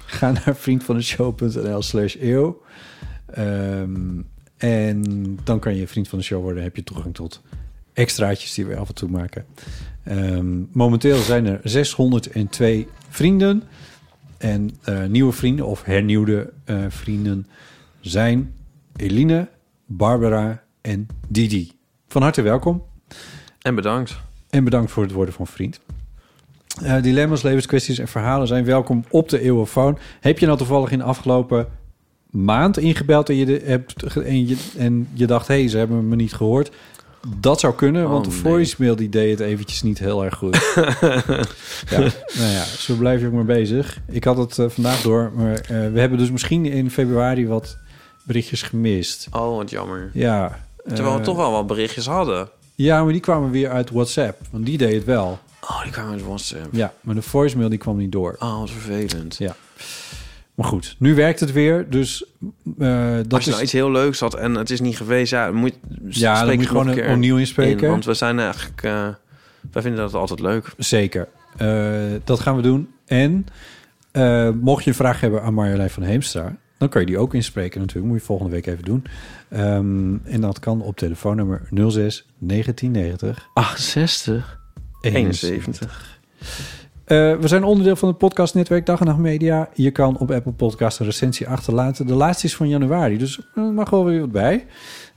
Speaker 1: Ga naar vriendvandeshow.nl slash eeuw. Ehm, en dan kan je vriend van de show worden. heb je toegang tot extraatjes die we af en toe maken. Ehm, momenteel zijn er 602 vrienden. En eh, nieuwe vrienden of hernieuwde eh, vrienden zijn Eline, Barbara en Didi. Van harte welkom.
Speaker 2: En bedankt.
Speaker 1: En bedankt voor het worden van vriend. Eh, dilemma's, levenskwesties en verhalen zijn welkom op de Eeuwofoon. Heb je nou toevallig in de afgelopen maand ingebeld en je, de, hebt, ge- en je, en je dacht... hé, hey, ze hebben me niet gehoord? Dat zou kunnen, want de
Speaker 2: Oh, nee.
Speaker 1: voicemail die deed het eventjes niet heel erg goed. ja, nou ja, zo blijf je ook maar bezig. Ik had het eh, vandaag door, maar eh, we hebben dus misschien in februari wat berichtjes gemist.
Speaker 2: Oh, wat jammer.
Speaker 1: Ja,
Speaker 2: Terwijl we
Speaker 1: eh,
Speaker 2: toch wel wat berichtjes hadden.
Speaker 1: ja, maar die kwamen weer uit WhatsApp, want die deed het wel.
Speaker 2: Oh, die kwamen uit WhatsApp.
Speaker 1: Ja, maar de voicemail die kwam niet door.
Speaker 2: Oh, wat vervelend.
Speaker 1: Ja. Maar goed, nu werkt het weer, dus eh, dat
Speaker 2: Als
Speaker 1: is...
Speaker 2: je nou iets heel leuks had en het is niet geweest, ja, moet,
Speaker 1: Ja, dan
Speaker 2: spreek
Speaker 1: moet je
Speaker 2: het nog
Speaker 1: gewoon
Speaker 2: een keer
Speaker 1: opnieuw inspreken.
Speaker 2: want we zijn eigenlijk, eh, wij vinden dat altijd leuk.
Speaker 1: Zeker. Eh, dat gaan we doen. En eh, mocht je een vraag hebben aan Marjolein van Heemstra... dan kan je die ook inspreken natuurlijk. Moet je volgende week even doen. Ehm, en dat kan op telefoonnummer 06 1990
Speaker 2: 68, 71.
Speaker 1: Eh, we zijn onderdeel van het podcastnetwerk Dag en Nacht Media. Je kan op Apple Podcast een recensie achterlaten. De laatste is van januari, dus er mag wel weer wat bij.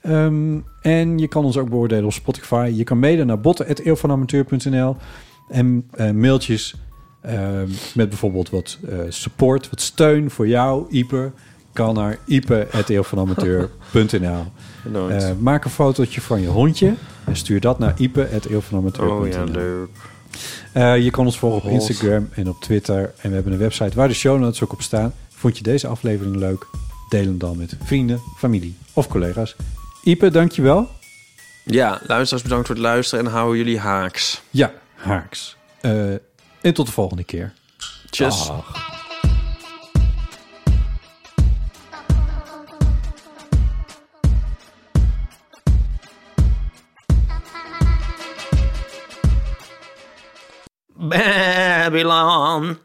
Speaker 1: Ehm, en je kan ons ook beoordelen op Spotify. Je kan mailen naar botten.eeuwvanamateur.nl en eh, mailtjes ehm, met bijvoorbeeld wat eh, support, wat steun voor jou, Ipe. Kan naar ipe.eeuwvanamateur.nl
Speaker 2: Nooit.
Speaker 1: Eh, Maak een fotootje van je hondje en stuur dat naar ipe.eeuwvanamateur.nl
Speaker 2: oh ja, leuk.
Speaker 1: eh, je kan ons volgen op
Speaker 2: Hot.
Speaker 1: Instagram en op Twitter. En we hebben een website waar de show notes ook op staan. Vond je deze aflevering leuk? Deel hem dan met vrienden, familie of collega's. Ipe, dankjewel.
Speaker 2: Ja, luisteraars bedankt voor het luisteren en houden jullie haaks.
Speaker 1: Ja, haaks. Eh, en tot de volgende keer.
Speaker 2: Tjus.
Speaker 1: Dag.
Speaker 2: Babylon.